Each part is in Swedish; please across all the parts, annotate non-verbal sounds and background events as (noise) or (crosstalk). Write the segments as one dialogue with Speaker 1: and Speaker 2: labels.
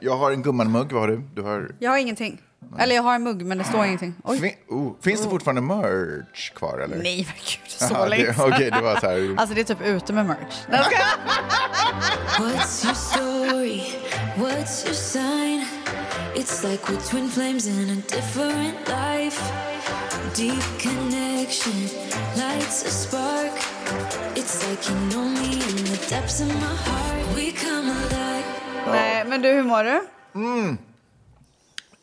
Speaker 1: Jag har en gummanmugg, vad har du? Du har...
Speaker 2: Jag har ingenting. Eller jag har en mugg, men det står ingenting. Oj.
Speaker 1: Fin... Oh, finns det fortfarande merch kvar eller?
Speaker 2: Nej, men gud, så
Speaker 1: (laughs) Ja, det-
Speaker 2: länge
Speaker 1: Okej, det var så här.
Speaker 2: (laughs) Alltså det är typ ute med merch. Nej, jag skojar.
Speaker 3: What's your story? What's your sign? It's like we're twin flames in a different life. Deep connection lights a spark. It's like you know me in the depths of my heart. We come alive.
Speaker 2: Nej, men du, hur mår du?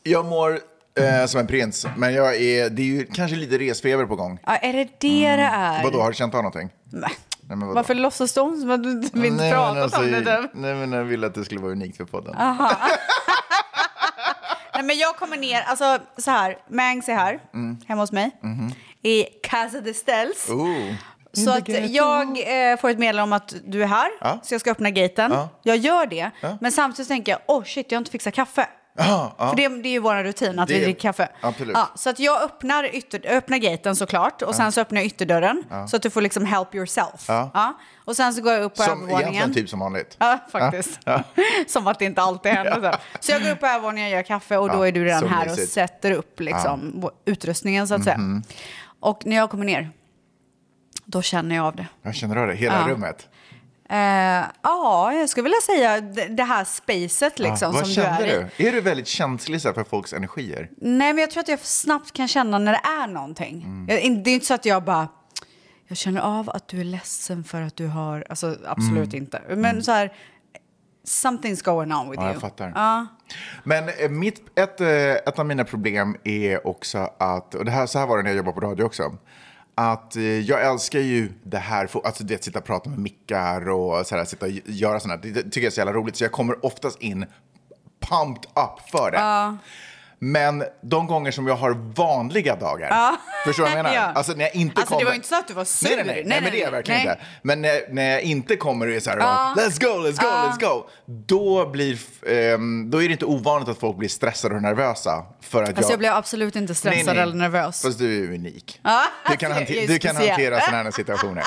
Speaker 1: Jag mår eh, som en prins, men jag är, det är ju kanske lite resfeber på gång.
Speaker 2: Ja, är det det det är?
Speaker 1: Mm. Vadå, har du känt av någonting?
Speaker 2: Nej.
Speaker 1: Nej, men vadå?
Speaker 2: Varför låtsas de som att du inte vill
Speaker 1: Nej, men
Speaker 2: prata
Speaker 1: alltså,
Speaker 2: om det? Ah. Typ?
Speaker 1: Nej, men jag ville att det skulle vara unikt för podden.
Speaker 2: Nej, men jag kommer ner, alltså så här, Mangs är här,
Speaker 1: Mm.
Speaker 2: hemma hos mig,
Speaker 1: Mm-hmm.
Speaker 2: i Casa de Stels.
Speaker 1: Oh.
Speaker 2: Så att jag eh, får ett meddelande om att du är här,
Speaker 1: Ja.
Speaker 2: så jag ska öppna gaten.
Speaker 1: Ja.
Speaker 2: Jag gör det, men samtidigt tänker jag, oh shit, jag har inte fixat kaffe. För det, det är ju vår rutin, att
Speaker 1: Det
Speaker 2: vi
Speaker 1: är-
Speaker 2: dricker kaffe.
Speaker 1: absolut.
Speaker 2: Ja, så att jag öppnar, ytter, öppnar gaten såklart, och sen så öppnar jag ytterdörren, så att du får liksom help yourself.
Speaker 1: Ja.
Speaker 2: Ja. Och sen så går jag upp på
Speaker 1: Som egentligen
Speaker 2: övervåningen.
Speaker 1: typ som vanligt.
Speaker 2: Ja, faktiskt. (laughs) Som att det inte alltid händer. Så, här. så jag går upp på övervåningen och gör kaffe och då
Speaker 1: Ja,
Speaker 2: är du redan
Speaker 1: så
Speaker 2: här och
Speaker 1: mysigt. Mhm.
Speaker 2: sätter upp liksom, vår- utrustningen så att säga. Och när jag kommer ner, då känner jag av det.
Speaker 1: Jag känner av det, hela
Speaker 2: Ja.
Speaker 1: rummet.
Speaker 2: Eh, ja, jag skulle vilja säga d- det här spacet liksom
Speaker 1: Ah, Vad
Speaker 2: som du
Speaker 1: kände
Speaker 2: är i.
Speaker 1: du? Är du väldigt känslig så här, för folks energier?
Speaker 2: Nej, men jag tror att jag snabbt kan känna när det är någonting.
Speaker 1: Mm.
Speaker 2: Jag, in- det är inte så att jag bara... Jag känner av att du är ledsen för att du har... Alltså,
Speaker 1: Mm.
Speaker 2: absolut inte. Men så här... Something's going on with
Speaker 1: Ja,
Speaker 2: you.
Speaker 1: jag fattar. Men eh, mitt, ett, eh, ett av mina problem är också att, och det här, så här var det när jag jobbade på radio också, att eh, jag älskar ju det här, för, alltså det att sitta och prata med mickar och så här, sitta och gö- göra sådana, det, det tycker jag är så jävla roligt, så jag kommer oftast in pumped up för det. Men de gånger som jag har vanliga dagar, förstår du
Speaker 2: (laughs)
Speaker 1: vad jag menar?
Speaker 2: Ja.
Speaker 1: Alltså när jag inte
Speaker 2: Alltså, det
Speaker 1: kommer.
Speaker 2: var ju inte så att du var sur.
Speaker 1: Nej, nej, nej, nej,
Speaker 2: Nej,
Speaker 1: men det är jag
Speaker 2: nej,
Speaker 1: verkligen
Speaker 2: nej.
Speaker 1: inte. Men när, när jag inte kommer och är så här, let's go, let's go, let's go. Då, blir, f- ehm, då är det inte ovanligt att folk blir stressade och nervösa. För att
Speaker 2: Alltså, jag blev absolut inte stressad eller nervös.
Speaker 1: Fast du är ju unik. du kan,
Speaker 2: jag är
Speaker 1: hanter,
Speaker 2: ju
Speaker 1: du kan
Speaker 2: speciell.
Speaker 1: hantera sådana här situationer.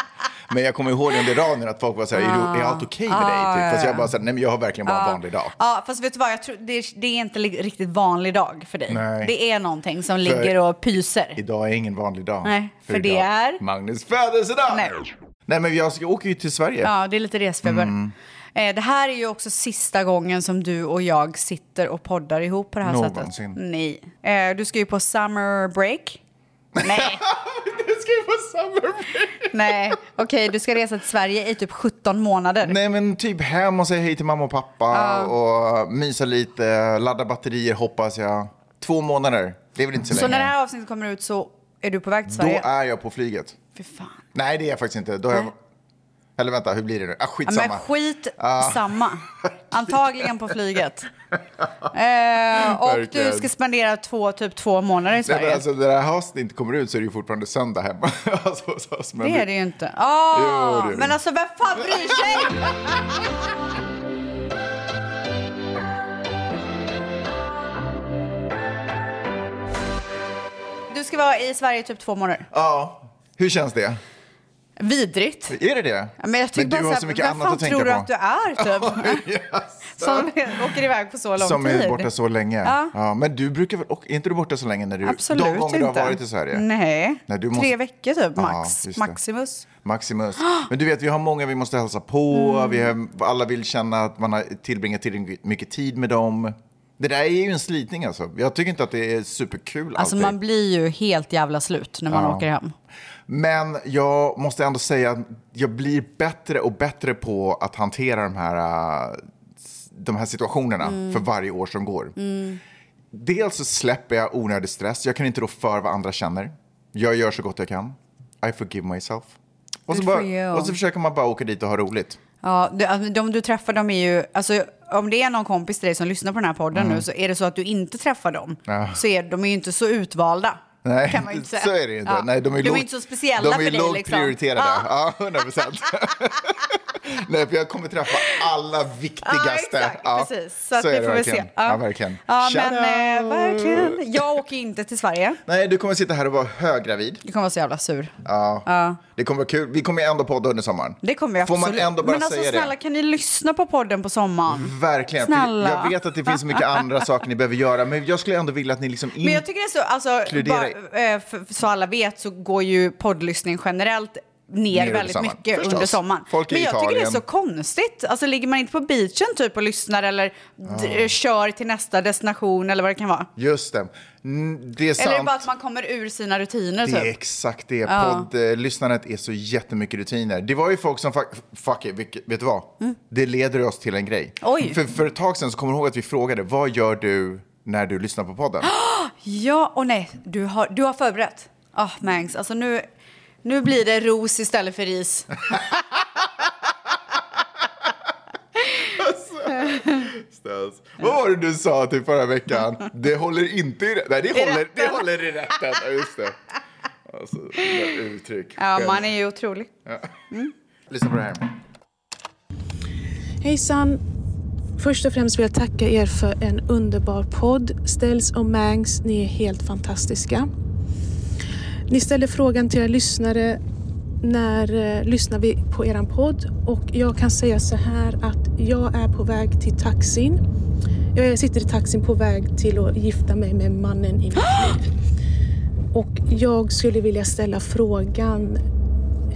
Speaker 1: Men jag kommer ihåg under radion att folk var så här, är, du, är allt okej med
Speaker 2: Ah.
Speaker 1: dig? Typ. Fast jag bara så här, nej men jag har verkligen bara en vanlig dag.
Speaker 2: Ja, fast vet du vad? Jag tror, det, är, det är inte li- riktigt vanlig dag för dig.
Speaker 1: Nej.
Speaker 2: Det är någonting som ligger och pyser.
Speaker 1: Idag är ingen vanlig dag.
Speaker 2: Nej, för det
Speaker 1: idag-
Speaker 2: är-
Speaker 1: Magnus födelsedag!
Speaker 2: Nej.
Speaker 1: Nej, men jag, ska- jag åker ju till Sverige. (laughs)
Speaker 2: Ja, det är lite resfeber.
Speaker 1: Mm.
Speaker 2: Eh, Det här är ju också sista gången som du och jag sitter och poddar ihop på det här
Speaker 1: Någonsin.
Speaker 2: sättet. Nej. Eh, Du ska ju på summer break. Nej,
Speaker 1: Du ska ju på summer
Speaker 2: nej. (laughs) Okej, du ska resa till Sverige i typ 17 månader.
Speaker 1: Nej men typ hem och säga hej till mamma och pappa och mysa lite, ladda batterier hoppas jag. Två månader, det är väl inte så,
Speaker 2: Så när
Speaker 1: länge.
Speaker 2: det här avsnittet kommer ut så är du på väg till
Speaker 1: Då
Speaker 2: Sverige?
Speaker 1: är jag på flyget.
Speaker 2: Fy fan.
Speaker 1: Nej det är jag faktiskt inte. Då är jag... Eller vänta, hur blir det nu? Ah,
Speaker 2: Ja,
Speaker 1: skitsamma.
Speaker 2: men skit
Speaker 1: Ah.
Speaker 2: samma.
Speaker 1: (laughs)
Speaker 2: Antagligen på flyget. Eh, och du
Speaker 1: Verkligen.
Speaker 2: ska spendera två, typ två månader i
Speaker 1: Nej, men
Speaker 2: Sverige.
Speaker 1: alltså, när det här avsnittet inte kommer ut så är det ju fortfarande söndag hemma. (laughs) alltså, hos oss, men
Speaker 2: Det är det ju inte. Ah,
Speaker 1: Jo, det är det.
Speaker 2: men alltså vem fan bryr sig? (laughs) Du ska vara i Sverige i typ två månader.
Speaker 1: Ja, hur känns det?
Speaker 2: Vidrigt.
Speaker 1: Är det det?
Speaker 2: Ja, Men, jag tycker
Speaker 1: du
Speaker 2: bara
Speaker 1: har
Speaker 2: här,
Speaker 1: så mycket
Speaker 2: vem
Speaker 1: annat
Speaker 2: fan
Speaker 1: att tänka
Speaker 2: tror du
Speaker 1: på.
Speaker 2: att
Speaker 1: (laughs)
Speaker 2: du är typ?
Speaker 1: Yes.
Speaker 2: Som (laughs) åker iväg på så lång
Speaker 1: Som
Speaker 2: tid.
Speaker 1: är borta så länge.
Speaker 2: Ja.
Speaker 1: men du brukar väl, och- är inte du borta så länge när du,
Speaker 2: Absolut
Speaker 1: de gånger
Speaker 2: inte.
Speaker 1: du har varit i Sverige?
Speaker 2: Nej,
Speaker 1: Nej, du måste-
Speaker 2: tre veckor typ
Speaker 1: Ja,
Speaker 2: max.
Speaker 1: just det.
Speaker 2: Maximus. (gasps)
Speaker 1: Maximus. Men du vet, vi har många vi måste hälsa på.
Speaker 2: Mm.
Speaker 1: Vi har, alla vill känna att man har tillbringat tillräckligt mycket tid med dem. Det där är ju en slitning alltså. Jag tycker inte att det är superkul
Speaker 2: Alltså
Speaker 1: alltid.
Speaker 2: man blir ju helt jävla slut när man
Speaker 1: Ja.
Speaker 2: åker hem.
Speaker 1: Men jag måste ändå säga att jag blir bättre och bättre på att hantera de här, äh, s- de här situationerna
Speaker 2: Mm.
Speaker 1: för varje år som går. Dels så släpper jag onödig stress. Jag kan inte rå för vad andra känner. Jag gör så gott jag kan. I forgive myself. Och så,
Speaker 2: Good for
Speaker 1: bara,
Speaker 2: you.
Speaker 1: och så försöker man bara åka dit och ha roligt.
Speaker 2: Ja, du, alltså, de du träffar dem är ju, alltså, om det är någon kompis till dig som lyssnar på den här podden nu så är det så att du inte träffar dem
Speaker 1: Mm. Ja.
Speaker 2: så är de är ju inte så utvalda.
Speaker 1: Nej,
Speaker 2: kan man ju inte säga.
Speaker 1: så är det ju inte.
Speaker 2: Ja.
Speaker 1: Nej, de är,
Speaker 2: de
Speaker 1: låg-
Speaker 2: är inte så speciella liksom.
Speaker 1: de är
Speaker 2: för dig.
Speaker 1: lågt
Speaker 2: liksom. (laughs)
Speaker 1: prioriterade.
Speaker 2: Ja.
Speaker 1: Ja, 100 procent. Nej, för jag kommer träffa alla viktigaste.
Speaker 2: Ja, exakt, precis. Så, att
Speaker 1: är
Speaker 2: vi
Speaker 1: det
Speaker 2: får väl
Speaker 1: verkligen.
Speaker 2: se.
Speaker 1: Ja, verkligen.
Speaker 2: Ja,
Speaker 1: Shout
Speaker 2: men eh,
Speaker 1: out!
Speaker 2: verkligen. Jag åker inte till Sverige.
Speaker 1: Nej, du kommer sitta här och vara höggravid.
Speaker 2: Du kommer vara så jävla sur.
Speaker 1: Ja. Det kommer vara kul. Vi kommer ändå podda under sommaren.
Speaker 2: Det kommer jag
Speaker 1: Får man
Speaker 2: absolut.
Speaker 1: ändå bara
Speaker 2: Men alltså
Speaker 1: säga
Speaker 2: snälla,
Speaker 1: det? Mm.
Speaker 2: kan ni lyssna på podden på sommaren?
Speaker 1: Verkligen. för
Speaker 2: Snälla.
Speaker 1: Jag vet att det finns så
Speaker 2: (laughs)
Speaker 1: mycket andra saker ni behöver göra, men jag skulle ändå vilja att ni liksom... In...
Speaker 2: Men jag tycker det är så, alltså,
Speaker 1: Inkludera-
Speaker 2: bara, eh, för, för, så alla vet så går ju poddlyssning generellt ner,
Speaker 1: Ner
Speaker 2: väldigt
Speaker 1: sommaren.
Speaker 2: mycket
Speaker 1: Förstås.
Speaker 2: under sommaren.
Speaker 1: Folk i
Speaker 2: Men jag tycker det är
Speaker 1: Italien.
Speaker 2: så konstigt. Alltså ligger man inte på beachen typ och lyssnar eller
Speaker 1: Ah.
Speaker 2: d- kör till nästa destination eller vad det kan vara?
Speaker 1: Just det. Mm, Det är sant.
Speaker 2: Eller är det bara att man kommer ur sina rutiner
Speaker 1: Det är
Speaker 2: typ?
Speaker 1: exakt det. Poddlyssnandet är så jättemycket rutiner. Det var ju folk som... Fuck, fuck it, vilket- vet du vad? Det leder oss till en grej.
Speaker 2: Mm. Oj.
Speaker 1: För, för ett tag sedan så kommer jag ihåg att vi frågade, vad gör du när du lyssnar på
Speaker 2: (gasps)
Speaker 1: podden?
Speaker 2: Ja, och nej, du har, du har förberett. Ah, Mangs, alltså nu, nu blir det ros istället
Speaker 1: (laughs)
Speaker 2: för ris.
Speaker 1: Ställs. Vad var det du sa till förra veckan? Det håller inte i... rä- Nej, det håller, det
Speaker 2: rätten.
Speaker 1: håller i rätten. Ja, Just det. Alltså, det där uttryck.
Speaker 2: Ja, man är ju otrolig.
Speaker 1: Lyssna på det här.
Speaker 4: Hejsan! Först och främst vill jag tacka er för en underbar podd. Ställs och Mangs, ni är helt fantastiska. Ni ställer frågan till era lyssnare när eh, lyssnar vi på er podd? Och jag kan säga så här att jag är på väg till taxin. Jag sitter i taxin på väg till att gifta mig med mannen
Speaker 2: (gasps)
Speaker 4: i mitt liv. Och jag skulle vilja ställa frågan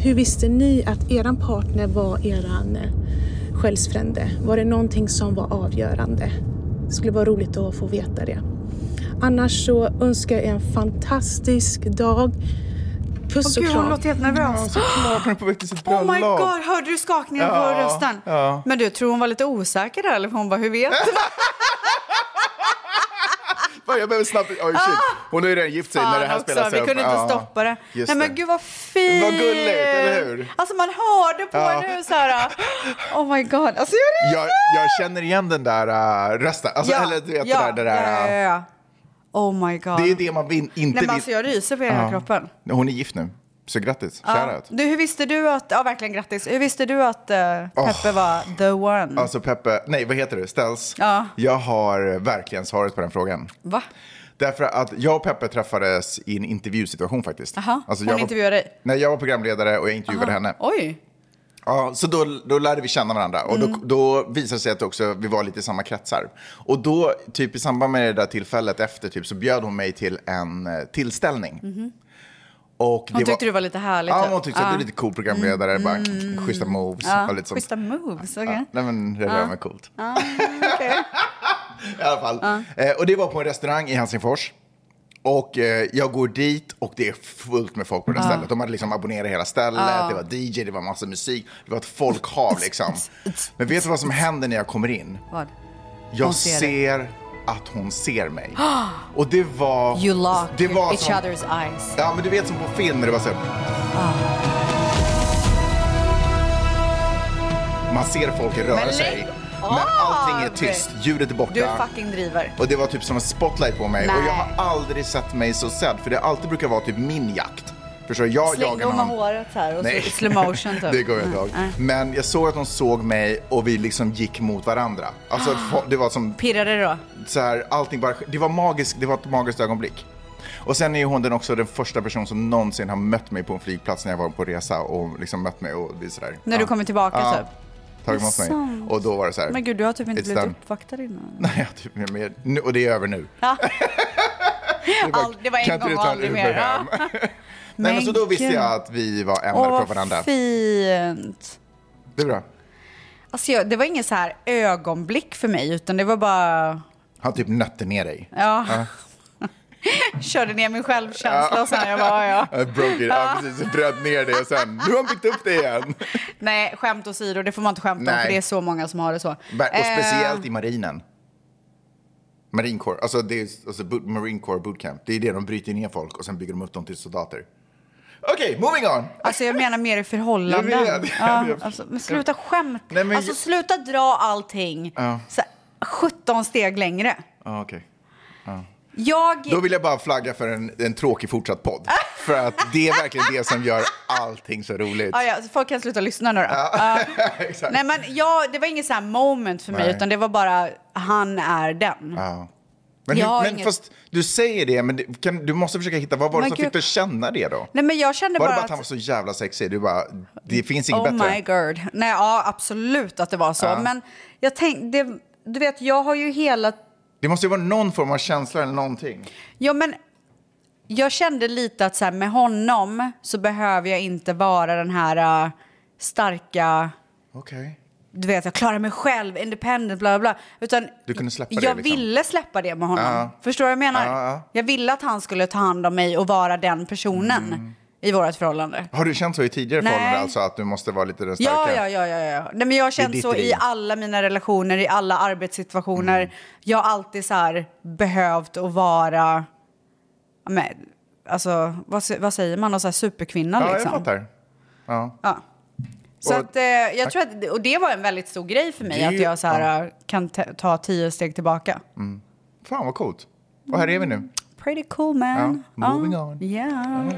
Speaker 4: hur visste ni att eran partner var eran eh, själsfrände? Var det någonting som var avgörande? Det skulle vara roligt att få veta det. Annars så önskar jag er en fantastisk dag. Puss och
Speaker 2: Gud, hon
Speaker 4: kram.
Speaker 2: låter helt nervös.
Speaker 1: Såklart hon är på väg till sitt
Speaker 2: (gasps) Oh
Speaker 1: bröllop.
Speaker 2: my god, hörde du skakningen på
Speaker 1: Ja,
Speaker 2: rösten?
Speaker 1: ja.
Speaker 2: Men du, tror hon var lite osäker där eller? Hon bara, hur vet du?
Speaker 1: Fan, jag behöver snabbt... Oj, shit. Hon har ju redan gift sig när det här spelas
Speaker 2: Ah! vi
Speaker 1: upp.
Speaker 2: kunde inte
Speaker 1: Ja,
Speaker 2: stoppa det.
Speaker 1: just
Speaker 2: Nej men
Speaker 1: det.
Speaker 2: gud vad fint!
Speaker 1: Vad gulligt, eller hur?
Speaker 2: Alltså man hörde på
Speaker 1: Ja.
Speaker 2: nu så här. oh my god. Alltså jag är
Speaker 1: Jag, jag känner igen den där uh, rösten. Alltså, eller du vet det där... Det, där
Speaker 2: ja, ja,
Speaker 1: äh,
Speaker 2: ja. Oh my god.
Speaker 1: det är det man vin, inte
Speaker 2: Nej men
Speaker 1: vill...
Speaker 2: alltså jag ryser på hela
Speaker 1: Ja.
Speaker 2: kroppen.
Speaker 1: Hon är gift nu, så grattis.
Speaker 2: Ja.
Speaker 1: Ja.
Speaker 2: Du, hur visste du att, ja verkligen grattis, hur visste du att eh, Peppe var the one?
Speaker 1: Alltså Peppe, nej vad heter du? Ställs.
Speaker 2: Ja.
Speaker 1: Jag har verkligen svaret på den frågan.
Speaker 2: Va?
Speaker 1: Därför att jag och Peppe träffades i en intervjusituation faktiskt.
Speaker 2: Aha,
Speaker 1: Alltså, jag
Speaker 2: hon
Speaker 1: var-
Speaker 2: intervjuade dig?
Speaker 1: Nej, jag var programledare och jag intervjuade henne.
Speaker 2: Oj,
Speaker 1: Ja, så då, då lärde vi känna varandra och
Speaker 2: Mm.
Speaker 1: då, då visade det sig att också vi var lite i samma kretsar. Och då, typ i samband med det där tillfället efter, typ, så bjöd hon mig till en eh, tillställning. Och det
Speaker 2: Mhm. hon tyckte du var lite härlig
Speaker 1: Ja,
Speaker 2: typ.
Speaker 1: hon tyckte att du är lite cool programledare, bara "Mm, schyssta moves.
Speaker 2: Ja,
Speaker 1: och lite sånt.
Speaker 2: schyssta moves, okej.
Speaker 1: Ja, nej men det rör mig coolt. (laughs) I alla fall. Eh, och det var på en restaurang i Helsingfors. Och eh, jag går dit och det är fullt med folk på det stället. De hade liksom abonnerat hela stället, det var DJ, det var massa musik, det var ett folkhav
Speaker 2: (laughs)
Speaker 1: liksom. Men vet du vad som händer när jag kommer in?
Speaker 2: Vad? Hon
Speaker 1: Jag
Speaker 2: ser
Speaker 1: ser,
Speaker 2: dig.
Speaker 1: att hon ser
Speaker 2: (gasps)
Speaker 1: mig. Och det var...
Speaker 2: You lock
Speaker 1: det var
Speaker 2: each
Speaker 1: som,
Speaker 2: other's eyes.
Speaker 1: Ja, men du vet som på film när det var så här...
Speaker 2: Ah.
Speaker 1: Man ser folk röra
Speaker 2: lägg
Speaker 1: sig.
Speaker 2: av!
Speaker 1: Men allting är tyst, ljudet är borta.
Speaker 2: Du fucking driver.
Speaker 1: Och det var typ som en spotlight på mig.
Speaker 2: Nej.
Speaker 1: Och jag har aldrig sett mig så sedd. För det alltid brukar vara typ min jakt. Förstår du? Jag
Speaker 2: Slängde
Speaker 1: jagar
Speaker 2: hon med
Speaker 1: någon.
Speaker 2: håret så här och
Speaker 1: Nej.
Speaker 2: så i slow
Speaker 1: (laughs)
Speaker 2: motion typ.
Speaker 1: Det går jag inte
Speaker 2: Mm,
Speaker 1: ihåg.
Speaker 2: nej.
Speaker 1: Men jag såg att hon såg mig och vi liksom gick mot varandra. Alltså
Speaker 2: Ah.
Speaker 1: det var som
Speaker 2: Pirrade det då?
Speaker 1: så här, allting bara, det var magiskt, det var ett magiskt ögonblick. Och sen är hon den också den första person som någonsin har mött mig på en flygplats när jag var på resa och liksom mött mig och vi sådär.
Speaker 2: När du kommer tillbaka,
Speaker 1: Ja.
Speaker 2: typ?
Speaker 1: Tagit emot
Speaker 2: Det är
Speaker 1: mig.
Speaker 2: sant.
Speaker 1: Och då var det så här.
Speaker 2: Men gud, du har typ inte
Speaker 1: It's
Speaker 2: blivit
Speaker 1: done. (laughs)
Speaker 2: uppvaktad innan.
Speaker 1: Nej, jag typ, är med- nu- och det är över nu.
Speaker 2: (laughs) Ja.
Speaker 1: Det var,
Speaker 2: All, det var en
Speaker 1: kan inte
Speaker 2: gång
Speaker 1: du
Speaker 2: och
Speaker 1: ta en
Speaker 2: aldrig
Speaker 1: Uber
Speaker 2: mer. (laughs)
Speaker 1: hem?
Speaker 2: Ja.
Speaker 1: Nej,
Speaker 2: Men
Speaker 1: men så då visste
Speaker 2: gud.
Speaker 1: jag att vi var ämnade
Speaker 2: Åh,
Speaker 1: för varandra.
Speaker 2: vad fint.
Speaker 1: Det är bra.
Speaker 2: Alltså, jag, det var ingen så här ögonblick för mig, utan det var bara...
Speaker 1: Han typ nötte ner dig.
Speaker 2: Ja. (laughs) Körde ner min självkänsla och sen jag bara,
Speaker 1: (laughs)
Speaker 2: ja. ja.
Speaker 1: Jag broke it. Ja, precis. Bröt ner dig och sen, nu har han byggt upp det igen.
Speaker 2: Nej, skämt åsido, det får man inte skämta om
Speaker 1: Nej.
Speaker 2: för det är så många som har det så.
Speaker 1: Och speciellt i marinen. Marinkår, alltså, det är, alltså boot, Marine Corps bootcamp. Det är det de bryter ner folk och sen bygger de upp dem till soldater. Okej, moving on!
Speaker 2: Alltså jag menar mer i förhållanden.
Speaker 1: Jag vet, jag
Speaker 2: ja,
Speaker 1: vet.
Speaker 2: alltså, men sluta skämta.
Speaker 1: Nej, men-
Speaker 2: alltså sluta dra allting
Speaker 1: Ja.
Speaker 2: så här, 17 steg längre.
Speaker 1: Ah, okej.
Speaker 2: Jag... (laughs)
Speaker 1: Då vill jag bara flagga för en, en tråkig fortsatt podd. För att det är verkligen det som gör allting så roligt.
Speaker 2: Ja, ja, så folk kan sluta lyssna nu då. Ja.
Speaker 1: (laughs) Exakt.
Speaker 2: Nej, men jag, det var inget så här moment för mig,
Speaker 1: Nej.
Speaker 2: utan det var bara han är den.
Speaker 1: Ja. Men,
Speaker 2: Jag har
Speaker 1: hur, men
Speaker 2: inget-
Speaker 1: fast du säger det, men det- kan, du måste försöka hitta, vad var det
Speaker 2: Men
Speaker 1: som
Speaker 2: gud.
Speaker 1: fick dig känna det då?
Speaker 2: Nej, men jag kände
Speaker 1: Var det
Speaker 2: bara
Speaker 1: bara att han var så jävla sexig? Du bara, det finns inget
Speaker 2: oh
Speaker 1: bättre.
Speaker 2: my god. Nej, ja, absolut att det var så. Men jag tänkte, det, du vet, jag har ju hela...
Speaker 1: Det måste ju vara någon form av känsla eller någonting.
Speaker 2: Ja, men jag kände lite att så här, med honom så behöver jag inte vara den här äh, starka...
Speaker 1: Okej.
Speaker 2: Du vet, jag klarar mig själv, independent, bla bla bla. Utan
Speaker 1: Du kunde släppa det,
Speaker 2: jag
Speaker 1: liksom.
Speaker 2: ville släppa det med honom.
Speaker 1: Ja.
Speaker 2: Förstår du vad jag menar?
Speaker 1: Ja, ja.
Speaker 2: Jag ville att han skulle ta hand om mig och vara den personen
Speaker 1: Mm.
Speaker 2: i vårt förhållande.
Speaker 1: Har du känt så i tidigare
Speaker 2: Nej.
Speaker 1: förhållanden, alltså att du måste vara lite den
Speaker 2: Ja,
Speaker 1: starka?
Speaker 2: ja, ja, ja, ja. Nej, men jag har känt
Speaker 1: ditt
Speaker 2: så i
Speaker 1: driv.
Speaker 2: alla mina relationer, i alla arbetssituationer.
Speaker 1: Mm.
Speaker 2: Jag har alltid så här behövt att vara, ja, men, alltså vad, s- vad säger man, Någon så här superkvinna
Speaker 1: Ja, jag
Speaker 2: liksom.
Speaker 1: fattar. Ja.
Speaker 2: Ja. Så
Speaker 1: Och-
Speaker 2: att, eh, jag tror att, och det var en väldigt stor grej för mig,
Speaker 1: Det är
Speaker 2: att
Speaker 1: ju- Mm.
Speaker 2: jag så här, eh, kan te- ta tio steg tillbaka.
Speaker 1: Fan vad coolt. Och här är vi nu.
Speaker 2: Pretty cool man.
Speaker 1: Ja, moving on.
Speaker 2: Yeah.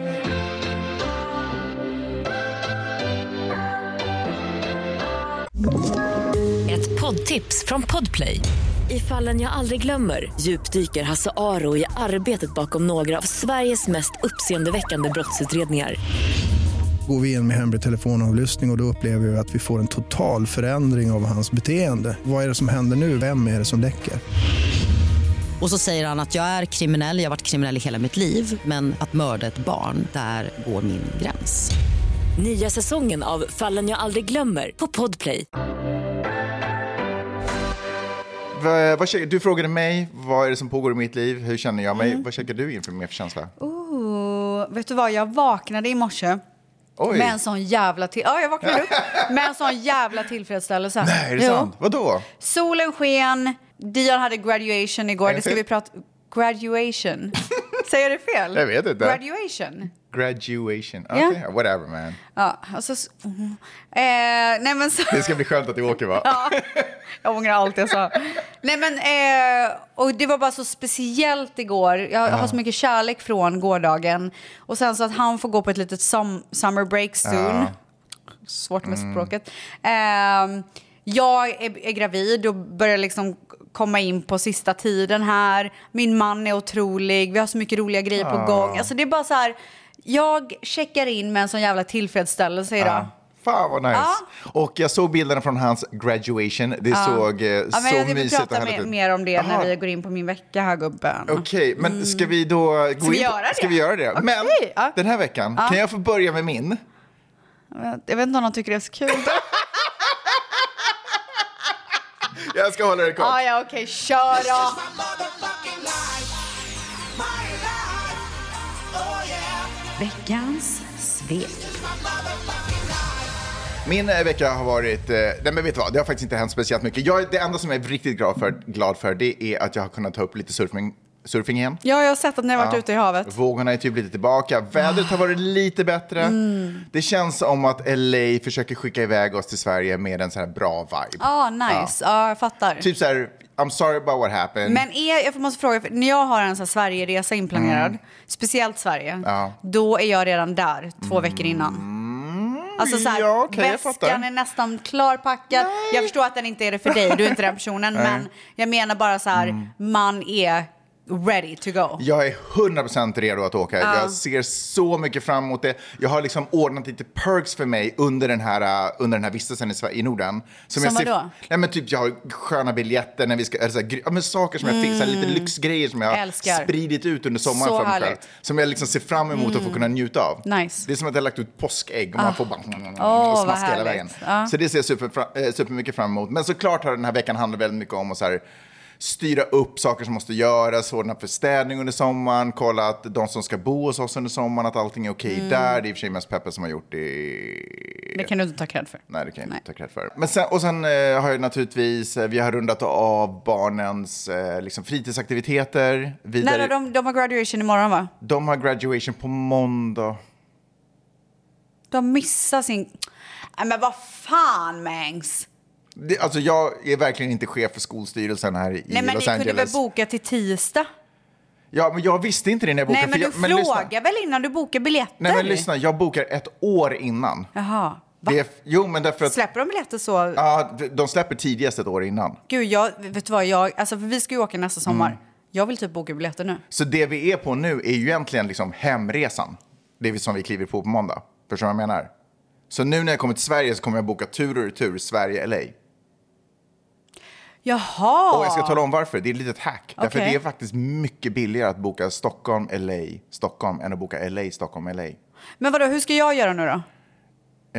Speaker 5: Ett poddtips från Podplay. I fallen jag aldrig glömmer djupdyker Hasse Aro i arbetet bakom några av Sveriges mest uppseendeväckande brottsutredningar.
Speaker 6: Går vi in med hemlig telefonavlyssning och, och då upplever vi att vi får en total förändring av hans beteende. Vad är det som händer nu? Vem är det som läcker?
Speaker 7: Och så säger han att jag är kriminell, jag har varit kriminell i hela mitt liv men att mörda ett barn, där går min gräns.
Speaker 5: Nya säsongen av Fallen jag aldrig glömmer på Podplay.
Speaker 1: Va, vad, käkar- du frågade mig, vad är det som pågår i mitt liv? Hur känner jag
Speaker 2: Mm.
Speaker 1: mig? Vad käkar du inför mer för känsla?
Speaker 2: Oh, Ooh, vet du vad, jag vaknade i morse
Speaker 1: Oj.
Speaker 2: med en sån jävla till- ja, jag vaknade upp med en sån jävla tillfredsställelse.
Speaker 1: Nej, är det
Speaker 2: Jo.
Speaker 1: sant? Vadå?
Speaker 2: Solen sken, Dion hade graduation
Speaker 1: Är
Speaker 2: igår.
Speaker 1: det
Speaker 2: Det ska
Speaker 1: fel?
Speaker 2: vi prata... Graduation? Säger jag det fel?
Speaker 1: Jag vet inte.
Speaker 2: Graduation.
Speaker 1: Graduation.
Speaker 2: Ja.
Speaker 1: Okej, whatever man.
Speaker 2: Ja, alltså... s- mm. Eh, nej men så...
Speaker 1: Det ska bli skönt att du åker va?
Speaker 2: (laughs) Jag ångrar allt jag sa. Nej men, eh, och det var bara så speciellt igår. Jag har så mycket kärlek från gårdagen. Och sen så att han får gå på ett litet som, summer break soon. Svårt med språket. Eh, jag är, är gravid och börjar liksom komma in på sista tiden här. Min man är otrolig. Vi har så mycket roliga grejer på gång. Alltså det är bara så här. Jag checkar in med en sån jävla tillfredsställelse idag.
Speaker 1: Fan vad nice. Och jag såg bilderna från hans graduation. Det såg eh,
Speaker 2: Ja, men
Speaker 1: så
Speaker 2: jag vill
Speaker 1: mysigt och
Speaker 2: prata
Speaker 1: härligt
Speaker 2: mer,
Speaker 1: ut.
Speaker 2: mer om det
Speaker 1: Jaha,
Speaker 2: när vi går in på min vecka här gubben.
Speaker 1: Okej, men ska vi då gå in
Speaker 2: Mm. vi
Speaker 1: på-
Speaker 2: göra det?
Speaker 1: Ska vi göra det?
Speaker 2: Okej,
Speaker 1: men
Speaker 2: ja.
Speaker 1: den här veckan, kan jag få börja med min?
Speaker 2: Jag vet inte om de tycker det är så kul.
Speaker 1: (laughs) Jag ska hålla det kort.
Speaker 2: ah, ja, okej, kör då.
Speaker 8: Oh,
Speaker 2: Veckans svep.
Speaker 1: Min eh, vecka har varit, eh, nej men vet du vad, det har faktiskt inte hänt speciellt mycket. Jag, det enda som jag är riktigt glad för, glad för det är att jag har kunnat ta upp lite surfing, surfing igen.
Speaker 2: Ja, jag har sett att ni har varit
Speaker 1: Ja.
Speaker 2: ute i havet.
Speaker 1: Vågorna är typ lite tillbaka, vädret har varit lite bättre.
Speaker 2: Mm.
Speaker 1: Det känns som att LA försöker skicka iväg oss till Sverige med en sån här bra vibe.
Speaker 2: Ah, nice. Ja, jag fattar.
Speaker 1: Typ så här, I'm sorry about what happened.
Speaker 2: Men är, jag måste fråga, för när jag har en sån här Sverigeresa inplanerad,
Speaker 1: Mm.
Speaker 2: speciellt Sverige, då är jag redan där två veckor innan. Alltså så här,
Speaker 1: Mm. ja, okej, jag
Speaker 2: väskan
Speaker 1: fattar.
Speaker 2: är nästan klarpackad. Jag förstår att den inte är det för dig, du är
Speaker 1: (laughs)
Speaker 2: inte den personen, men jag menar bara så här,
Speaker 1: Mm.
Speaker 2: man är ready to go.
Speaker 1: Jag är 100% redo att åka. Jag ser så mycket fram emot det. Jag har liksom ordnat lite perks för mig under den här, uh, under den här vistelsen i, Sverige, i Norden. Som, jag
Speaker 2: vadå?
Speaker 1: Nej, men typ jag har sköna biljetter när vi ska, eller så här, gry- ja, men saker som jag fick, så här, lite lyxgrejer som jag har
Speaker 2: Mm. Älskar.
Speaker 1: spridit ut under sommaren
Speaker 2: Så
Speaker 1: för mig själv.
Speaker 2: härligt. Mm.
Speaker 1: Som jag liksom ser fram emot att få kunna njuta av.
Speaker 2: Nice. Ah.
Speaker 1: Det är som att jag har lagt ut påskägg och man får bara
Speaker 2: vad
Speaker 1: och smaska hela
Speaker 2: härligt.
Speaker 1: vägen.
Speaker 2: Ja.
Speaker 1: Så det ser jag super, eh, supermycket fram emot. Men såklart har den här veckan handlat väldigt mycket om att så här, styra upp saker som måste göras, ordna för städning under sommaren, kolla att de som ska bo hos oss under sommaren, att allting är okej
Speaker 2: Mm.
Speaker 1: där. Det är i och för sig mest Peppe som har gjort det
Speaker 2: Det kan du inte ta cred för.
Speaker 1: Nej, det kan jag inte ta cred för. Men sen, och sen eh, har jag naturligtvis, eh, vi har rundat av barnens eh, liksom fritidsaktiviteter. Vidare,
Speaker 2: Nej, nej, de, de har graduation imorgon va?
Speaker 1: de har graduation på måndag.
Speaker 2: De missar sin... Nej men vad fan Mangs!
Speaker 1: Det, alltså jag är verkligen inte chef för skolstyrelsen här i
Speaker 2: Nej men
Speaker 1: Los
Speaker 2: ni kunde väl
Speaker 1: Angeles.
Speaker 2: boka till tisdag?
Speaker 1: Ja, men jag visste inte det när jag bokade.
Speaker 2: Nej, men
Speaker 1: för
Speaker 2: du
Speaker 1: jag,
Speaker 2: frågar
Speaker 1: lyssna.
Speaker 2: väl innan du bokar biljetter?
Speaker 1: Nej, men lyssna. Jag bokar ett år innan.
Speaker 2: Jaha. Va?
Speaker 1: Det är, jo, men därför att...
Speaker 2: Släpper de biljetter så?
Speaker 1: Ja, de släpper tidigast ett år innan.
Speaker 2: Gud, jag, vet du vad, jag, alltså, för vi ska ju åka nästa
Speaker 1: Mm.
Speaker 2: sommar. Jag vill typ boka biljetter nu.
Speaker 1: Så det vi är på nu är ju egentligen liksom hemresan. Det är som vi kliver på på måndag. Förstår du vad jag menar? Så nu när jag kommer till Sverige så kommer jag boka tur och retur Sverige-LA.
Speaker 2: Jaha!
Speaker 1: Och jag ska tala om varför. Det är ett litet hack. Därför
Speaker 2: Okej.
Speaker 1: det är faktiskt mycket billigare att boka Stockholm, LA, Stockholm än att boka LA, Stockholm, LA.
Speaker 2: Men vadå, hur ska jag göra nu då?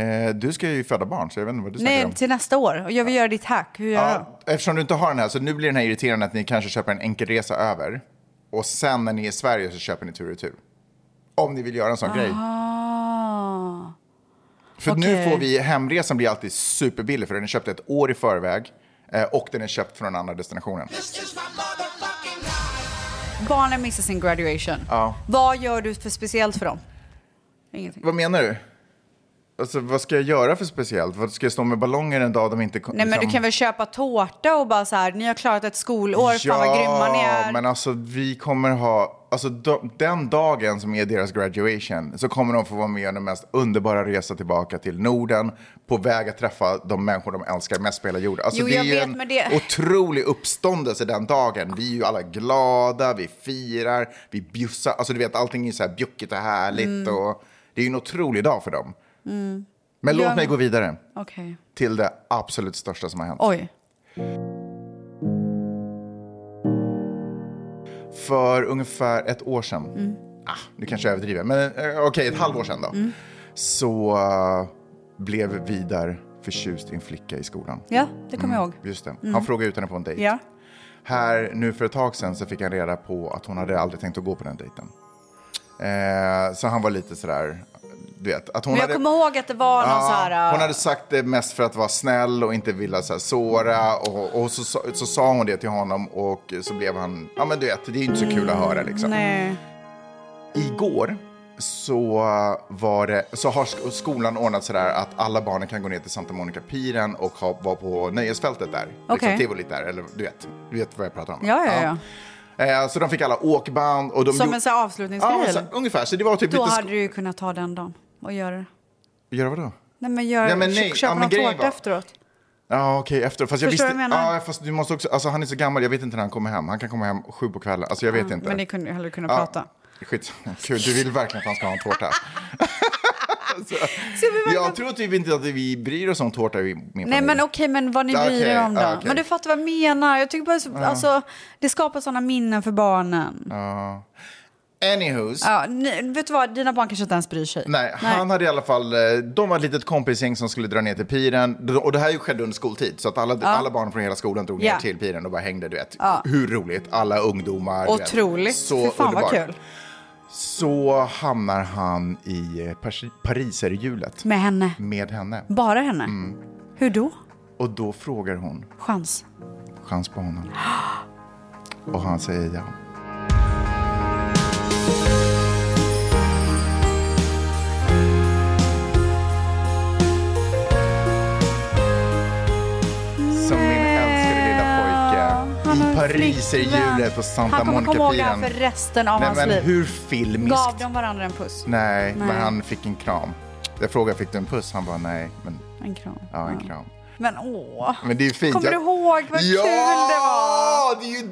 Speaker 1: Eh, du ska ju föda barn, så jag vet inte vad du snackar
Speaker 2: Nej,
Speaker 1: om.
Speaker 2: till nästa år. Och jag vill göra ditt hack. Hur gör jag?
Speaker 1: Ja, eftersom du inte har den här, så nu blir den här irriterande att ni kanske köper en enkelresa över. Och sen när ni är i Sverige så köper ni tur och retur. Om ni vill göra en sån grej.
Speaker 2: Ah.
Speaker 1: För nu
Speaker 2: Okej.
Speaker 1: får vi, hemresan blir alltid superbillig för den är köpt ett år i förväg eh, och den är köpt från den andra destinationen.
Speaker 2: Barnen missar sin graduation.
Speaker 1: Ja.
Speaker 2: Vad gör du för speciellt för dem? Ingenting.
Speaker 1: Vad menar du? Alltså, vad ska jag göra för speciellt? Vad ska jag stå med ballonger en dag de inte kom-
Speaker 2: Nej men du
Speaker 1: liksom-
Speaker 2: kan väl köpa tårta och bara så här, ni har klarat ett skolår, fan vad grymma ni är.
Speaker 1: men alltså vi kommer ha, alltså de, den dagen som är deras graduation så kommer de få vara med om den mest underbara resa tillbaka till Norden på väg att träffa de människor de älskar mest på hela jorden. Alltså
Speaker 2: Jo,
Speaker 1: det är
Speaker 2: jag
Speaker 1: ju
Speaker 2: vet,
Speaker 1: en
Speaker 2: men det-
Speaker 1: otrolig uppståndelse den dagen. Vi är ju alla glada, vi firar, vi bjussar, alltså du vet allting är så här bjuckigt och härligt
Speaker 2: Mm.
Speaker 1: och det är ju en otrolig dag för dem. Men låt
Speaker 2: Ja,
Speaker 1: mig
Speaker 2: men-
Speaker 1: gå vidare
Speaker 2: Okej.
Speaker 1: till det absolut största som har hänt.
Speaker 2: Oj.
Speaker 1: för ungefär ett år sedan.
Speaker 2: Mm.
Speaker 1: Ah, nu kanske jag överdriver, men eh, okej, ett halvår sedan då. Så eh, blev Vidar förtjust i en flicka i skolan.
Speaker 2: Ja, det kommer jag ihåg.
Speaker 1: Just det, han frågade ut henne på en dejt.
Speaker 2: Ja.
Speaker 1: Här nu för ett tag sedan så fick han reda på att hon hade aldrig tänkt att gå på den dejten. Eh, så han var lite sådär, du vet. Att hon
Speaker 2: Men jag
Speaker 1: hade...
Speaker 2: kommer ihåg att det var någon
Speaker 1: Ja,
Speaker 2: så här...
Speaker 1: Hon hade sagt det mest för att vara snäll och inte vilja så här såra. Och, och så, så, så sa hon det till honom och så blev han, ja men du vet, det är ju inte så kul att höra liksom.
Speaker 2: Nej.
Speaker 1: Igår så, var det, så har sk- skolan ordnat sådär att alla barnen kan gå ner till Santa Monica-piren och ha, vara på nöjesfältet där.
Speaker 2: Okej.
Speaker 1: Liksom tivolit där, eller du vet, du vet vad jag pratar om.
Speaker 2: Ja, ja, ja.
Speaker 1: Eh, så de fick alla åkband och de
Speaker 2: Som
Speaker 1: gjorde-
Speaker 2: en så här avslutningsgrej.
Speaker 1: Ja, så,
Speaker 2: eller?
Speaker 1: ungefär. Så det var typ
Speaker 2: Då
Speaker 1: lite...
Speaker 2: hade du ju kunnat ta den dagen och göra det.
Speaker 1: Göra vadå?
Speaker 2: Nej men gör,
Speaker 1: Nej, men nej.
Speaker 2: köpa
Speaker 1: Ja, men
Speaker 2: någon
Speaker 1: grejen
Speaker 2: tårta
Speaker 1: var-
Speaker 2: efteråt.
Speaker 1: Ja, okej, efter. Fast jag
Speaker 2: Förstår
Speaker 1: visste...
Speaker 2: vad jag menar?
Speaker 1: Ja, fast du måste också... Alltså han är så gammal, jag vet inte när han kommer hem. Han kan komma hem sju på kvällen. Alltså jag vet inte.
Speaker 2: Men ni kunde ju hellre kunna
Speaker 1: Ja,
Speaker 2: prata.
Speaker 1: Skit. (laughs) Kul, du vill verkligen att han ska ha en
Speaker 2: (laughs)
Speaker 1: tårta. Alltså, jag tror typ inte att vi bryr oss om tårta i min familj.
Speaker 2: Nej men okej, men vad ni
Speaker 1: Ja,
Speaker 2: bryr
Speaker 1: okej,
Speaker 2: er om då?
Speaker 1: ja, okej.
Speaker 2: Men du fattar vad jag menar. Jag tycker bara så, alltså, det skapar sådana minnen för barnen. Ja.
Speaker 1: Anywhos.
Speaker 2: ni, vet du vad, dina barn kanske inte ens bryr sig.
Speaker 1: Nej, han hade i alla fall, eh, de var ett litet kompisgäng som skulle dra ner till piren. Och det här ju skedde under skoltid, så att alla, alla barn från hela skolan drog ner
Speaker 2: Ja.
Speaker 1: till piren och bara hängde, du vet. Hur roligt, alla ungdomar. du vet.
Speaker 2: Otroligt. Fy fan vad kul.
Speaker 1: Så hamnar han i eh, pers- pariserhjulet
Speaker 2: Med henne.
Speaker 1: med henne.
Speaker 2: Bara henne.
Speaker 1: Mm.
Speaker 2: Hur då?
Speaker 1: Och då frågar hon,
Speaker 2: Chans.
Speaker 1: chans på honom. Och han säger ja. Som min älskade lilla
Speaker 2: Han
Speaker 1: pojke. I
Speaker 2: har en flickvän.
Speaker 1: pariserhjulet på Santa
Speaker 2: Han kommer komma ihåg det här
Speaker 1: Monica-piren.
Speaker 2: för resten av
Speaker 1: Nej
Speaker 2: hans
Speaker 1: men
Speaker 2: liv.
Speaker 1: hur filmiskt.
Speaker 2: Gav de varandra en puss?
Speaker 1: Nej,
Speaker 2: Nej.
Speaker 1: men han fick en kram. Jag frågade, fick du en puss? Han bara, nej, men
Speaker 2: En kram.
Speaker 1: ja, en kram.
Speaker 2: Men åh.
Speaker 1: Men det är fint.
Speaker 2: Kommer
Speaker 1: Jag-
Speaker 2: du ihåg vad
Speaker 1: ja!
Speaker 2: kul det var?
Speaker 1: Ja, det är ju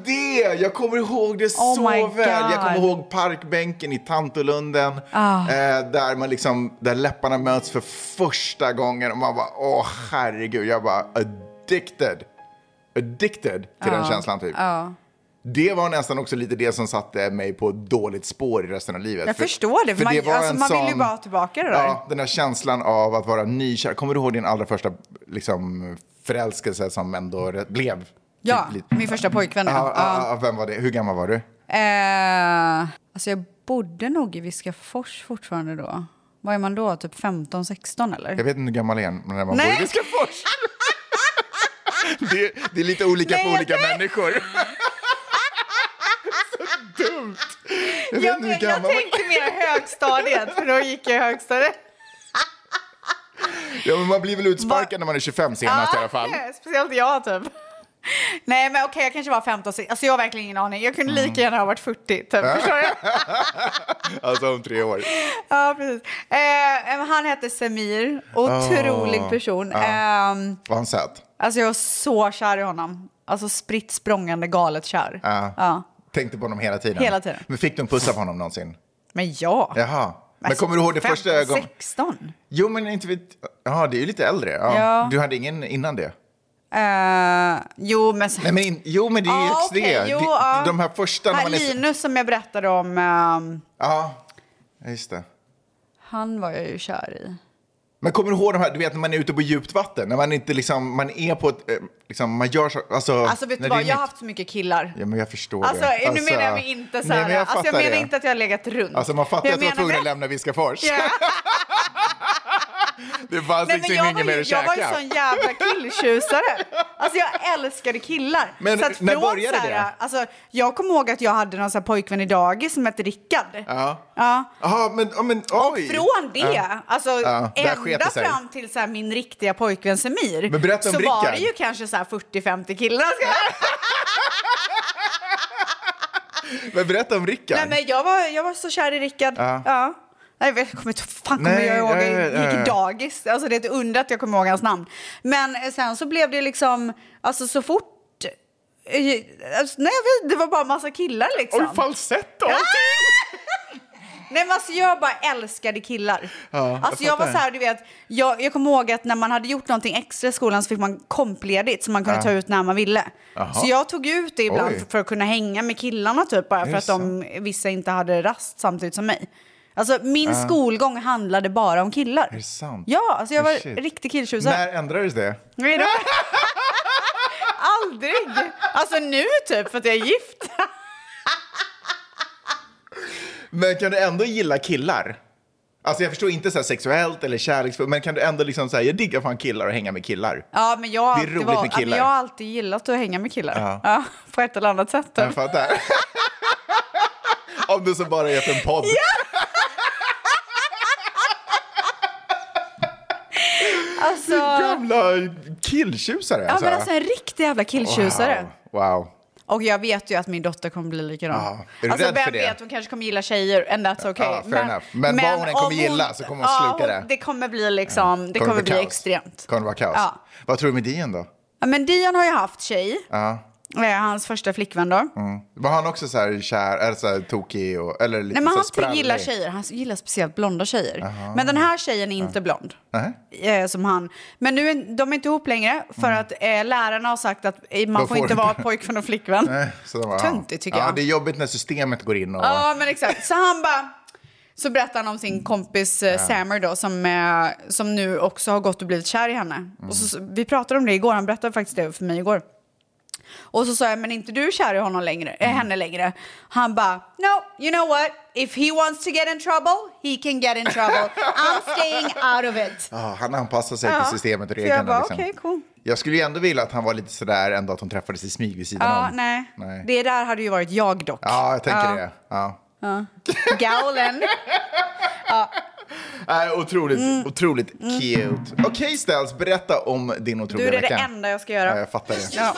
Speaker 1: det! Jag kommer ihåg det
Speaker 2: Oh
Speaker 1: så
Speaker 2: my
Speaker 1: väl. Jag kommer
Speaker 2: God. Ah.
Speaker 1: ihåg parkbänken i Tantolunden. Eh, där, man liksom, där läpparna möts för första gången. Och man bara, åh herregud. Jag bara, addicted. Addicted till den känslan typ. Det var nästan också lite det som satte mig på ett dåligt spår i resten av livet.
Speaker 2: Jag förstår det, för man- alltså,
Speaker 1: en
Speaker 2: man vill ju bara ha tillbaka det där.
Speaker 1: Ja, den här känslan av att vara nykär. Kommer du ihåg din allra första liksom, förälskelse som ändå blev?
Speaker 2: Ja,
Speaker 1: Typ lite-
Speaker 2: min första pojkvän.
Speaker 1: Ja,
Speaker 2: Ja,
Speaker 1: ja, ja, vem var det? Hur gammal var du?
Speaker 2: Eh, alltså jag bodde nog i Viskafors fortfarande då. Vad är man då? Typ 15, 16 eller?
Speaker 1: Jag vet inte hur gammal jag är, men när man
Speaker 2: Nej.
Speaker 1: bor i Viskafors. (laughs) det, det är lite olika
Speaker 2: Nej,
Speaker 1: för
Speaker 2: jag
Speaker 1: olika människor.
Speaker 2: (laughs)
Speaker 1: Så dumt. Jag vet inte hur
Speaker 2: jag,
Speaker 1: gammal
Speaker 2: tänkte mer högstadiet, för då gick jag i högstadiet. Ah,
Speaker 1: ja, men Man blir väl utsparkad när man är 25 senast i alla fall.
Speaker 2: Speciellt jag typ. Nej, men okej, jag kanske var 15, 16. Alltså jag har verkligen ingen aning. Jag kunde
Speaker 1: Mm.
Speaker 2: lika gärna ha varit 40, typ. Förstår du?
Speaker 1: Alltså om tre år.
Speaker 2: Ja, precis. Eh, eh, han hette Semir. Otrolig person. Ehm,
Speaker 1: Var han söt?
Speaker 2: alltså jag var så kär i honom. Alltså spritt språngande galet kär.
Speaker 1: Ja.
Speaker 2: Ja.
Speaker 1: Tänkte på honom hela tiden?
Speaker 2: Hela tiden.
Speaker 1: Men fick du en puss av honom någonsin?
Speaker 2: Men ja. Alltså,
Speaker 1: Jaha. Men kommer du ihåg det första
Speaker 2: 15,
Speaker 1: gången?
Speaker 2: 16.
Speaker 1: Jo, men inte vet... Jaha, det är ju lite äldre. Ja.
Speaker 2: Ja.
Speaker 1: Du hade ingen innan det?
Speaker 2: Eh, jo, men...
Speaker 1: Nej, men in... Jo, men det är ju
Speaker 2: Ja,
Speaker 1: också
Speaker 2: Ah, okej,
Speaker 1: det.
Speaker 2: jo,
Speaker 1: Det-
Speaker 2: ja.
Speaker 1: De här första... när
Speaker 2: Här,
Speaker 1: man är...
Speaker 2: Linus som jag berättade om, ehm,
Speaker 1: Ja, just det.
Speaker 2: han var jag ju kär i.
Speaker 1: Men kommer du ihåg de här, du vet när man är ute på djupt vatten, när man inte liksom, man är på ett, eh, liksom, man gör så, alltså.
Speaker 2: Alltså vet
Speaker 1: när det
Speaker 2: du
Speaker 1: är
Speaker 2: vad, jag har
Speaker 1: nytt.
Speaker 2: haft så mycket killar.
Speaker 1: Ja men jag förstår
Speaker 2: Alltså,
Speaker 1: det.
Speaker 2: nu menar jag mig inte så
Speaker 1: nej,
Speaker 2: här.
Speaker 1: men jag
Speaker 2: alltså, jag
Speaker 1: fattar
Speaker 2: menar
Speaker 1: det.
Speaker 2: inte att jag har legat runt.
Speaker 1: Alltså man fattar
Speaker 2: Men
Speaker 1: att du var tvungen att
Speaker 2: menar-
Speaker 1: lämna Alltså, Viskafors. (laughs)
Speaker 2: Ja.
Speaker 1: Det fanns
Speaker 2: Nej, men
Speaker 1: liksom
Speaker 2: jag, var
Speaker 1: inget mer
Speaker 2: ju,
Speaker 1: att
Speaker 2: jag var ju
Speaker 1: käka.
Speaker 2: sån jävla killtjusare. Alltså jag älskade killar.
Speaker 1: Men
Speaker 2: så att
Speaker 1: när
Speaker 2: från
Speaker 1: började
Speaker 2: så här,
Speaker 1: det?
Speaker 2: Alltså, jag kommer ihåg att jag hade någon så här pojkvän i dagis som hette Rickard.
Speaker 1: Ja.
Speaker 2: Ja.
Speaker 1: Jaha, men, ja, men oj.
Speaker 2: Från det, alltså
Speaker 1: Ja, där sket
Speaker 2: ända
Speaker 1: det sig.
Speaker 2: fram till så här, min riktiga pojkvän Semir,
Speaker 1: Men berätta om
Speaker 2: så var
Speaker 1: Rickard.
Speaker 2: det ju kanske så här 40-50 killar. Ska jag-
Speaker 1: Men berätta om Rickard.
Speaker 2: Nej, men jag, var, jag var så kär i Rickard. Ja. Nej, jag vet- jag kommer inte, fan kommer
Speaker 1: Nej,
Speaker 2: jag ihåg,
Speaker 1: nej, nej,
Speaker 2: jag
Speaker 1: nej.
Speaker 2: gick i dagis. Alltså det är ett under att jag kommer ihåg hans namn. Men eh, sen så blev det liksom, alltså så fort, eh, alltså, nej jag vet det var bara massa killar liksom.
Speaker 1: Oj, falsett och allting.
Speaker 2: Nej men alltså jag bara älskade killar.
Speaker 1: jag
Speaker 2: alltså jag var
Speaker 1: fattar.
Speaker 2: så här, du vet, jag, jag kommer ihåg att när man hade gjort någonting extra i skolan så fick man kompledigt som man kunde ta ut när man ville.
Speaker 1: Jaha.
Speaker 2: Så jag tog ut det ibland
Speaker 1: Oj.
Speaker 2: för, för att kunna hänga med killarna typ bara för att
Speaker 1: Just
Speaker 2: de, vissa inte hade rast samtidigt som mig. Alltså min skolgång handlade bara om killar.
Speaker 1: Är det sant?
Speaker 2: Ja, alltså jag var
Speaker 1: Oh, shit.
Speaker 2: riktig killtjusare.
Speaker 1: När ändrades det?
Speaker 2: Nej. då- (laughs) Aldrig! Alltså nu typ för att jag är gift.
Speaker 1: Men kan du ändå gilla killar? Alltså jag förstår inte så här sexuellt eller kärleksfullt, men kan du ändå liksom säga jag diggar fan killar och hänga med killar?
Speaker 2: Ja, men jag, har
Speaker 1: Det är
Speaker 2: alltid
Speaker 1: roligt med
Speaker 2: ja, men
Speaker 1: killar.
Speaker 2: jag har alltid gillat att hänga med killar.
Speaker 1: Ja.
Speaker 2: Ja. på ett eller annat sätt.
Speaker 1: Jag
Speaker 2: (laughs)
Speaker 1: fattar. Om du så bara är för en podd.
Speaker 2: Alltså, ja,
Speaker 1: Gamla killtjusare. alltså.
Speaker 2: men alltså en riktig jävla killtjusare.
Speaker 1: Wow. wow.
Speaker 2: Och jag vet ju att min dotter kommer bli likadan.
Speaker 1: Ja, är du
Speaker 2: alltså
Speaker 1: rädd
Speaker 2: vem
Speaker 1: för det?
Speaker 2: vet, hon kanske kommer gilla tjejer, and that's okay.
Speaker 1: Ja, fair enough. Men vad hon än kommer
Speaker 2: om
Speaker 1: gilla så kommer hon
Speaker 2: ja,
Speaker 1: sluka det.
Speaker 2: Det kommer bli liksom, det kommer,
Speaker 1: vara
Speaker 2: bli
Speaker 1: kaos?
Speaker 2: extremt.
Speaker 1: Kommer det vara kaos?
Speaker 2: Ja.
Speaker 1: Vad tror du med Dion då?
Speaker 2: Ja, men Dion har ju haft tjej,
Speaker 1: Ja. Mm,
Speaker 2: eh, hans första flickvän då.
Speaker 1: Var han också så här kär, eller så här tokig och, eller lite
Speaker 2: Nej, men
Speaker 1: så
Speaker 2: han
Speaker 1: här
Speaker 2: sprallig. gillar
Speaker 1: sprallig?
Speaker 2: tjejer. Han gillar speciellt blonda tjejer. Men den här tjejen är inte blond. Eh, som han. Men nu är, de är inte ihop längre för att eh, lärarna har sagt att eh, man
Speaker 1: Då
Speaker 2: får
Speaker 1: Mm. får
Speaker 2: inte
Speaker 1: du
Speaker 2: vara
Speaker 1: inte.
Speaker 2: pojkvän och flickvän.
Speaker 1: Nej, så de bara,
Speaker 2: Töntigt, tycker
Speaker 1: ja. Ja,
Speaker 2: jag.
Speaker 1: det är jobbigt när systemet går in och...
Speaker 2: Ja, men exakt. Så han bara... Så berättar han om sin kompis eh, Samer då, som, eh, som nu också har gått och blivit kär i henne.
Speaker 1: Mm.
Speaker 2: Och så, vi pratade om det igår, han berättade faktiskt det för mig igår. Och så sa jag, men är inte du kär i honom längre,
Speaker 1: Mm.
Speaker 2: eh, henne längre? Han bara, no, you know what? If he wants to get in trouble, he can get in trouble. I'm staying out of it.
Speaker 1: Ja, han anpassar sig
Speaker 2: Ja.
Speaker 1: till systemet och
Speaker 2: Så jag
Speaker 1: reglerna. liksom.
Speaker 2: bara, okej, cool.
Speaker 1: jag skulle ju ändå vilja att han var lite sådär ändå att hon träffades i smyg vid sidan
Speaker 2: Ja,
Speaker 1: om.
Speaker 2: nej.
Speaker 1: nej.
Speaker 2: Det där hade ju varit jag dock.
Speaker 1: Ja, jag tänker
Speaker 2: (laughs)
Speaker 1: det. Ja.
Speaker 2: Galen.
Speaker 1: Nej, otroligt,
Speaker 2: Mm.
Speaker 1: otroligt cute. Okej, Stels, berätta om din
Speaker 2: Du,
Speaker 1: otroliga
Speaker 2: det är det
Speaker 1: vecka.
Speaker 2: enda jag ska göra.
Speaker 1: Ja, jag fattar det.
Speaker 2: Ja.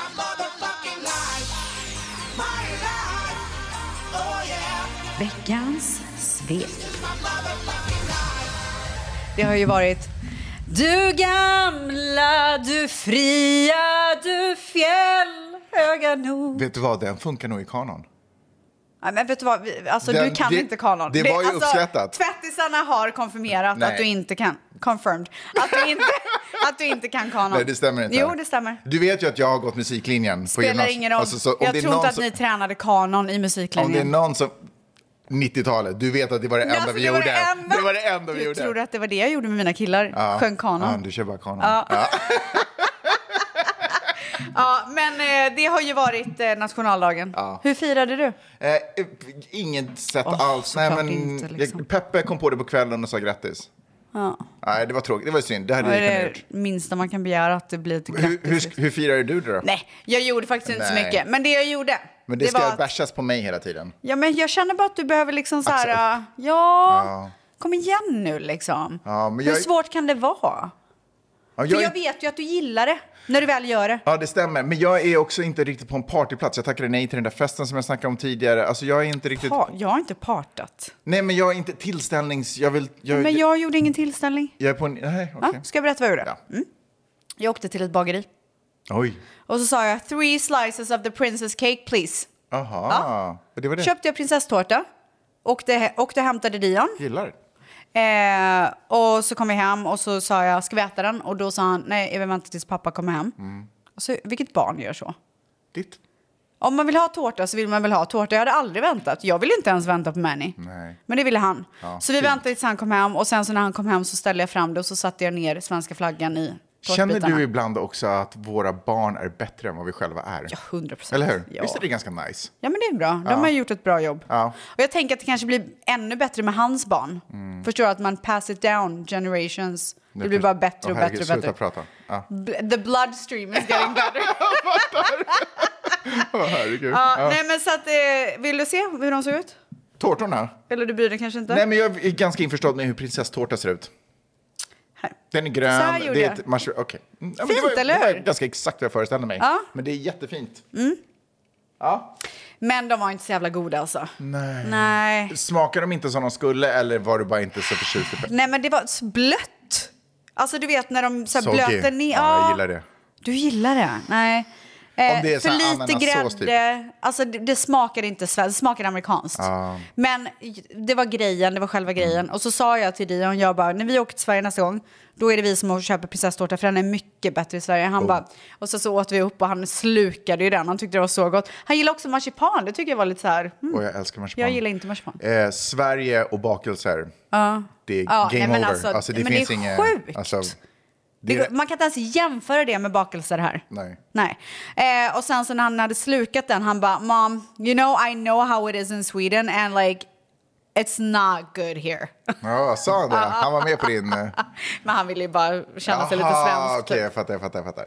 Speaker 8: Oh,
Speaker 5: Veckans svep.
Speaker 2: Det har ju varit Du gamla, du fria, du fjäll höga nord.
Speaker 1: Vet du vad, den funkar nog i kanon.
Speaker 2: Ja, men vet du vad, Vi- alltså,
Speaker 1: Den-
Speaker 2: du kan
Speaker 1: det-
Speaker 2: inte kanon. alltså,
Speaker 1: det var ju uppskattat.
Speaker 2: Tvättisarna har konfirmerat
Speaker 1: Nej.
Speaker 2: att du inte kan. Confirmed. Att
Speaker 1: (laughs)
Speaker 2: du inte, att du inte kan kanon.
Speaker 1: Nej, det stämmer inte.
Speaker 2: Jo, det stämmer.
Speaker 1: Du vet ju att jag har gått musiklinjen på
Speaker 2: Spelar
Speaker 1: gymnasiet.
Speaker 2: ingen roll.
Speaker 1: Alltså, så om
Speaker 2: jag
Speaker 1: det är
Speaker 2: tror
Speaker 1: någon
Speaker 2: inte att
Speaker 1: som-
Speaker 2: ni tränade kanon i musiklinjen.
Speaker 1: Om det är någon som... 90-talet, du vet att det var det enda
Speaker 2: Alltså,
Speaker 1: vi
Speaker 2: det var
Speaker 1: gjorde.
Speaker 2: det enda-
Speaker 1: Det var det enda vi
Speaker 2: du
Speaker 1: gjorde.
Speaker 2: Tror du att det var det jag gjorde med mina killar?
Speaker 1: Ja.
Speaker 2: Sjöng kanon.
Speaker 1: Ja, du kör bara kanon.
Speaker 2: Ja.
Speaker 1: Ja.
Speaker 2: Ja, men eh, det har ju varit eh, nationaldagen. Hur firade du?
Speaker 1: Eh, inget sätt
Speaker 2: Åh,
Speaker 1: alls. Nej,
Speaker 2: såklart
Speaker 1: men
Speaker 2: inte, liksom.
Speaker 1: jag, Peppe kom på det på kvällen och sa grattis.
Speaker 2: Ja.
Speaker 1: Nej, det var tråkigt. Det var synd. Det hade
Speaker 2: Vad är
Speaker 1: jag kunnat
Speaker 2: det
Speaker 1: gjort.
Speaker 2: minsta man kan begära att det blir ett
Speaker 1: Hur,
Speaker 2: grattis?
Speaker 1: hur, hur firade du det då?
Speaker 2: Nej, jag gjorde faktiskt inte
Speaker 1: Nej.
Speaker 2: så mycket. Men det jag gjorde.
Speaker 1: Men det, ska
Speaker 2: var att,
Speaker 1: bashas på mig hela tiden.
Speaker 2: ja, men jag känner bara att du behöver liksom så här,
Speaker 1: Axla
Speaker 2: ja, ja, kom igen nu liksom.
Speaker 1: Ja, men
Speaker 2: Hur
Speaker 1: jag-
Speaker 2: svårt kan det vara?
Speaker 1: Ja,
Speaker 2: För
Speaker 1: jag,
Speaker 2: jag
Speaker 1: är,
Speaker 2: vet ju att du gillar det när du väl gör det.
Speaker 1: ja, det stämmer. Men jag är också inte riktigt på en partyplats. Jag tackade nej till den där festen som jag snackade om tidigare. Alltså, jag är inte riktigt...
Speaker 2: Pa, jag har inte partat.
Speaker 1: Nej, men jag är inte tillställnings... Jag vill... Jag,
Speaker 2: Men jag gjorde ingen tillställning.
Speaker 1: jag är på en... Nej, okej.
Speaker 2: Ja, ska jag berätta vad jag gjorde?
Speaker 1: Ja.
Speaker 2: Mm. Jag åkte till ett bageri
Speaker 1: Oj.
Speaker 2: och så sa jag three slices of the princess cake please.
Speaker 1: Aha. Det var det.
Speaker 2: Köpte jag prinsesstårta, åkte, he- åkte och hämtade Dion.
Speaker 1: Gillar.
Speaker 2: Eh, och så kom jag hem och så sa jag, ska vi äta den? Och då sa han, nej, jag vill vänta tills pappa kommer hem.
Speaker 1: Mm.
Speaker 2: Alltså, vilket barn gör så?
Speaker 1: Ditt?
Speaker 2: Om man vill ha tårta så vill man väl ha tårta. Jag hade aldrig väntat. Jag ville inte ens vänta på Manny.
Speaker 1: Nej.
Speaker 2: Men det ville han.
Speaker 1: Ja,
Speaker 2: så vi
Speaker 1: fint.
Speaker 2: väntade tills han kom hem och sen så när han kom hem så ställde jag fram det och så satte jag ner svenska flaggan i
Speaker 1: Känner
Speaker 2: tårtbitarna.
Speaker 1: du ibland också att våra barn är bättre än vad vi själva är?
Speaker 2: Ja, 100 procent.
Speaker 1: Eller hur?
Speaker 2: Ja.
Speaker 1: Visst är det ganska nice?
Speaker 2: Ja, men det är bra. De har gjort ett bra jobb.
Speaker 1: Ja.
Speaker 2: Och jag tänker att det kanske blir ännu bättre med hans barn.
Speaker 1: Mm.
Speaker 2: Förstår du? Att man pass it down generations. Det blir bara bättre och
Speaker 1: Åh,
Speaker 2: bättre
Speaker 1: herregud,
Speaker 2: och bättre.
Speaker 1: Sluta prata. Ja.
Speaker 2: B- The bloodstream is
Speaker 1: (laughs)
Speaker 2: getting better. (laughs)
Speaker 1: Åh, herregud.
Speaker 2: ja,
Speaker 1: Ja.
Speaker 2: Nej, men så att, eh, vill du se hur de såg ut?
Speaker 1: Tårtorna?
Speaker 2: Eller du bryr dig kanske inte?
Speaker 1: Nej, men jag är ganska införstådd med hur prinsesstårta ser ut.
Speaker 2: Här.
Speaker 1: Den är grön.
Speaker 2: Så här gjorde
Speaker 1: det är
Speaker 2: jag.
Speaker 1: ett mars- okay. mm. ja, men
Speaker 2: Fint,
Speaker 1: det var,
Speaker 2: eller
Speaker 1: Det var
Speaker 2: hur?
Speaker 1: ganska exakt vad jag föreställde mig.
Speaker 2: Ja.
Speaker 1: Men det är jättefint.
Speaker 2: Men de var inte så jävla goda alltså.
Speaker 1: Nej.
Speaker 2: Nej.
Speaker 1: Smakar de inte som de skulle eller var du bara inte så förtjust i pe-
Speaker 2: Nej, men det var så blött. Alltså du vet när de så här
Speaker 1: Soggy.
Speaker 2: blöter ner.
Speaker 1: Ja, jag gillar det.
Speaker 2: Du gillar det? Nej. Eh,
Speaker 1: Om det är så
Speaker 2: för
Speaker 1: här
Speaker 2: lite
Speaker 1: ananassås,
Speaker 2: grädde.
Speaker 1: typ.
Speaker 2: Alltså det, det smakade inte svenskt, det smakade amerikanskt. Men det var grejen, det var
Speaker 1: Mm.
Speaker 2: själva grejen. Och så sa jag till Dion, jag bara, när vi åker till Sverige nästa gång, då är det vi som köper prinsesstårta för den är mycket bättre i Sverige.
Speaker 1: Oh.
Speaker 2: Han bara, och så, så åt vi upp och han slukade ju den, han tyckte det var så gott. Han gillade också marsipan, det tycker jag var lite så här, mm,
Speaker 1: Och jag älskar marsipan.
Speaker 2: jag gillar inte marsipan.
Speaker 1: Eh, Sverige och bakelser. Det är
Speaker 2: Ja,
Speaker 1: game
Speaker 2: nej, men
Speaker 1: over.
Speaker 2: alltså,
Speaker 1: Alltså, det
Speaker 2: men det
Speaker 1: finns
Speaker 2: är
Speaker 1: inget...
Speaker 2: sjukt.
Speaker 1: Alltså,
Speaker 2: Det,
Speaker 1: det är,
Speaker 2: man kan inte ens jämföra det med bakelser här.
Speaker 1: Nej.
Speaker 2: Nej. Eh, och sen så när han hade slukat den, han bara “Mom, you know I know how it is in Sweden and like it's not good here”. (laughs)
Speaker 1: ja, sa han det? Han var med på din... eh,
Speaker 2: Men (laughs) han ville ju bara känna sig lite
Speaker 1: aha,
Speaker 2: svensk.
Speaker 1: Okej,
Speaker 2: typ.
Speaker 1: jag fattar, jag fattar, jag fattar.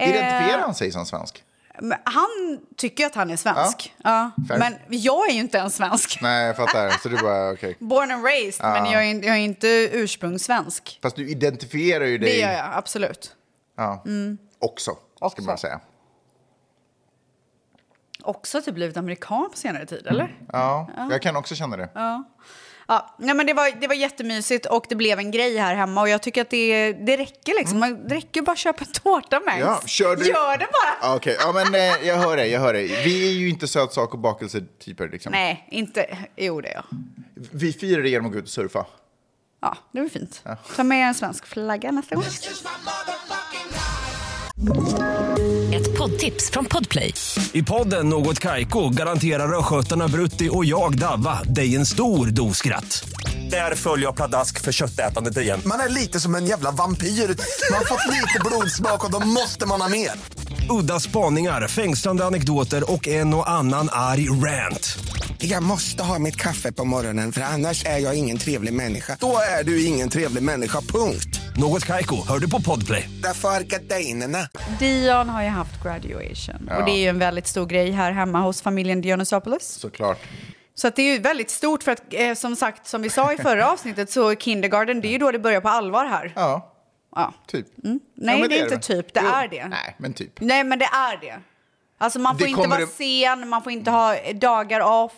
Speaker 1: Identifierar han sig som svensk?
Speaker 2: Men Han tycker att han är svensk. Ja.
Speaker 1: Fair.
Speaker 2: Men jag är ju inte ens svensk.
Speaker 1: Nej, jag fattar. Så du bara, okej.
Speaker 2: (laughs) Born and raised, men
Speaker 1: Ah.
Speaker 2: jag är, in- jag är inte ursprungssvensk.
Speaker 1: Fast du identifierar ju dig
Speaker 2: Det gör jag, absolut.
Speaker 1: Ja. också, ska
Speaker 2: Också.
Speaker 1: man säga.
Speaker 2: Också typ blivit amerikan på senare tid, eller?
Speaker 1: Ja, jag kan också känna det.
Speaker 2: Ja, nej men det, var, det var jättemysigt och det blev en grej här hemma och jag tycker att det, det räcker liksom. Man, det räcker ju bara att köpa en tårta med.
Speaker 1: Mm. Ja, kör du...
Speaker 2: Gör det bara!
Speaker 1: Ja, Okej, ja, men eh, jag hör dig, jag hör dig. Vi är ju inte sötsak och bakelsetyper. Liksom.
Speaker 2: Nej, inte... Jo, det är jag.
Speaker 1: Vi firar det genom att gå ut och surfa.
Speaker 2: Ja, det var fint. Ta med en svensk flagga nästa gång.
Speaker 5: Ett poddtips från Podplay.
Speaker 9: I podden Något Kaiko garanterar östgötarna Brutti och jag, Davva, dig en stor dos skratt. Där följer jag pladask för köttätandet igen.
Speaker 8: Man är lite som en jävla vampyr. Man har fått lite blodsmak och då måste man ha mer.
Speaker 9: Udda spaningar, fängslande anekdoter och en och annan arg rant.
Speaker 8: Jag måste ha mitt kaffe på morgonen för annars är jag ingen trevlig människa. Då är du ingen trevlig människa, punkt.
Speaker 9: Något Kaiko, hör du på Podplay.
Speaker 8: Därför arkadeinerna.
Speaker 2: Dion har ju haft graduation och det är ju en väldigt stor grej här hemma hos familjen Dionysopoulos.
Speaker 1: Såklart.
Speaker 2: Så att det är ju väldigt stort för att eh, som sagt, som vi sa i förra
Speaker 1: (laughs)
Speaker 2: avsnittet så kindergarten, det är ju då det börjar på allvar här.
Speaker 1: Ja,
Speaker 2: Ja. Mm.
Speaker 1: typ.
Speaker 2: Nej,
Speaker 1: Ja, men
Speaker 2: det är inte
Speaker 1: väl.
Speaker 2: typ, det
Speaker 1: Jo.
Speaker 2: är det.
Speaker 1: Nej, men typ.
Speaker 2: Nej, men det är det. Alltså man får
Speaker 1: Det
Speaker 2: inte
Speaker 1: kommer
Speaker 2: vara
Speaker 1: det-
Speaker 2: sen, man får inte ha eh, dagar off.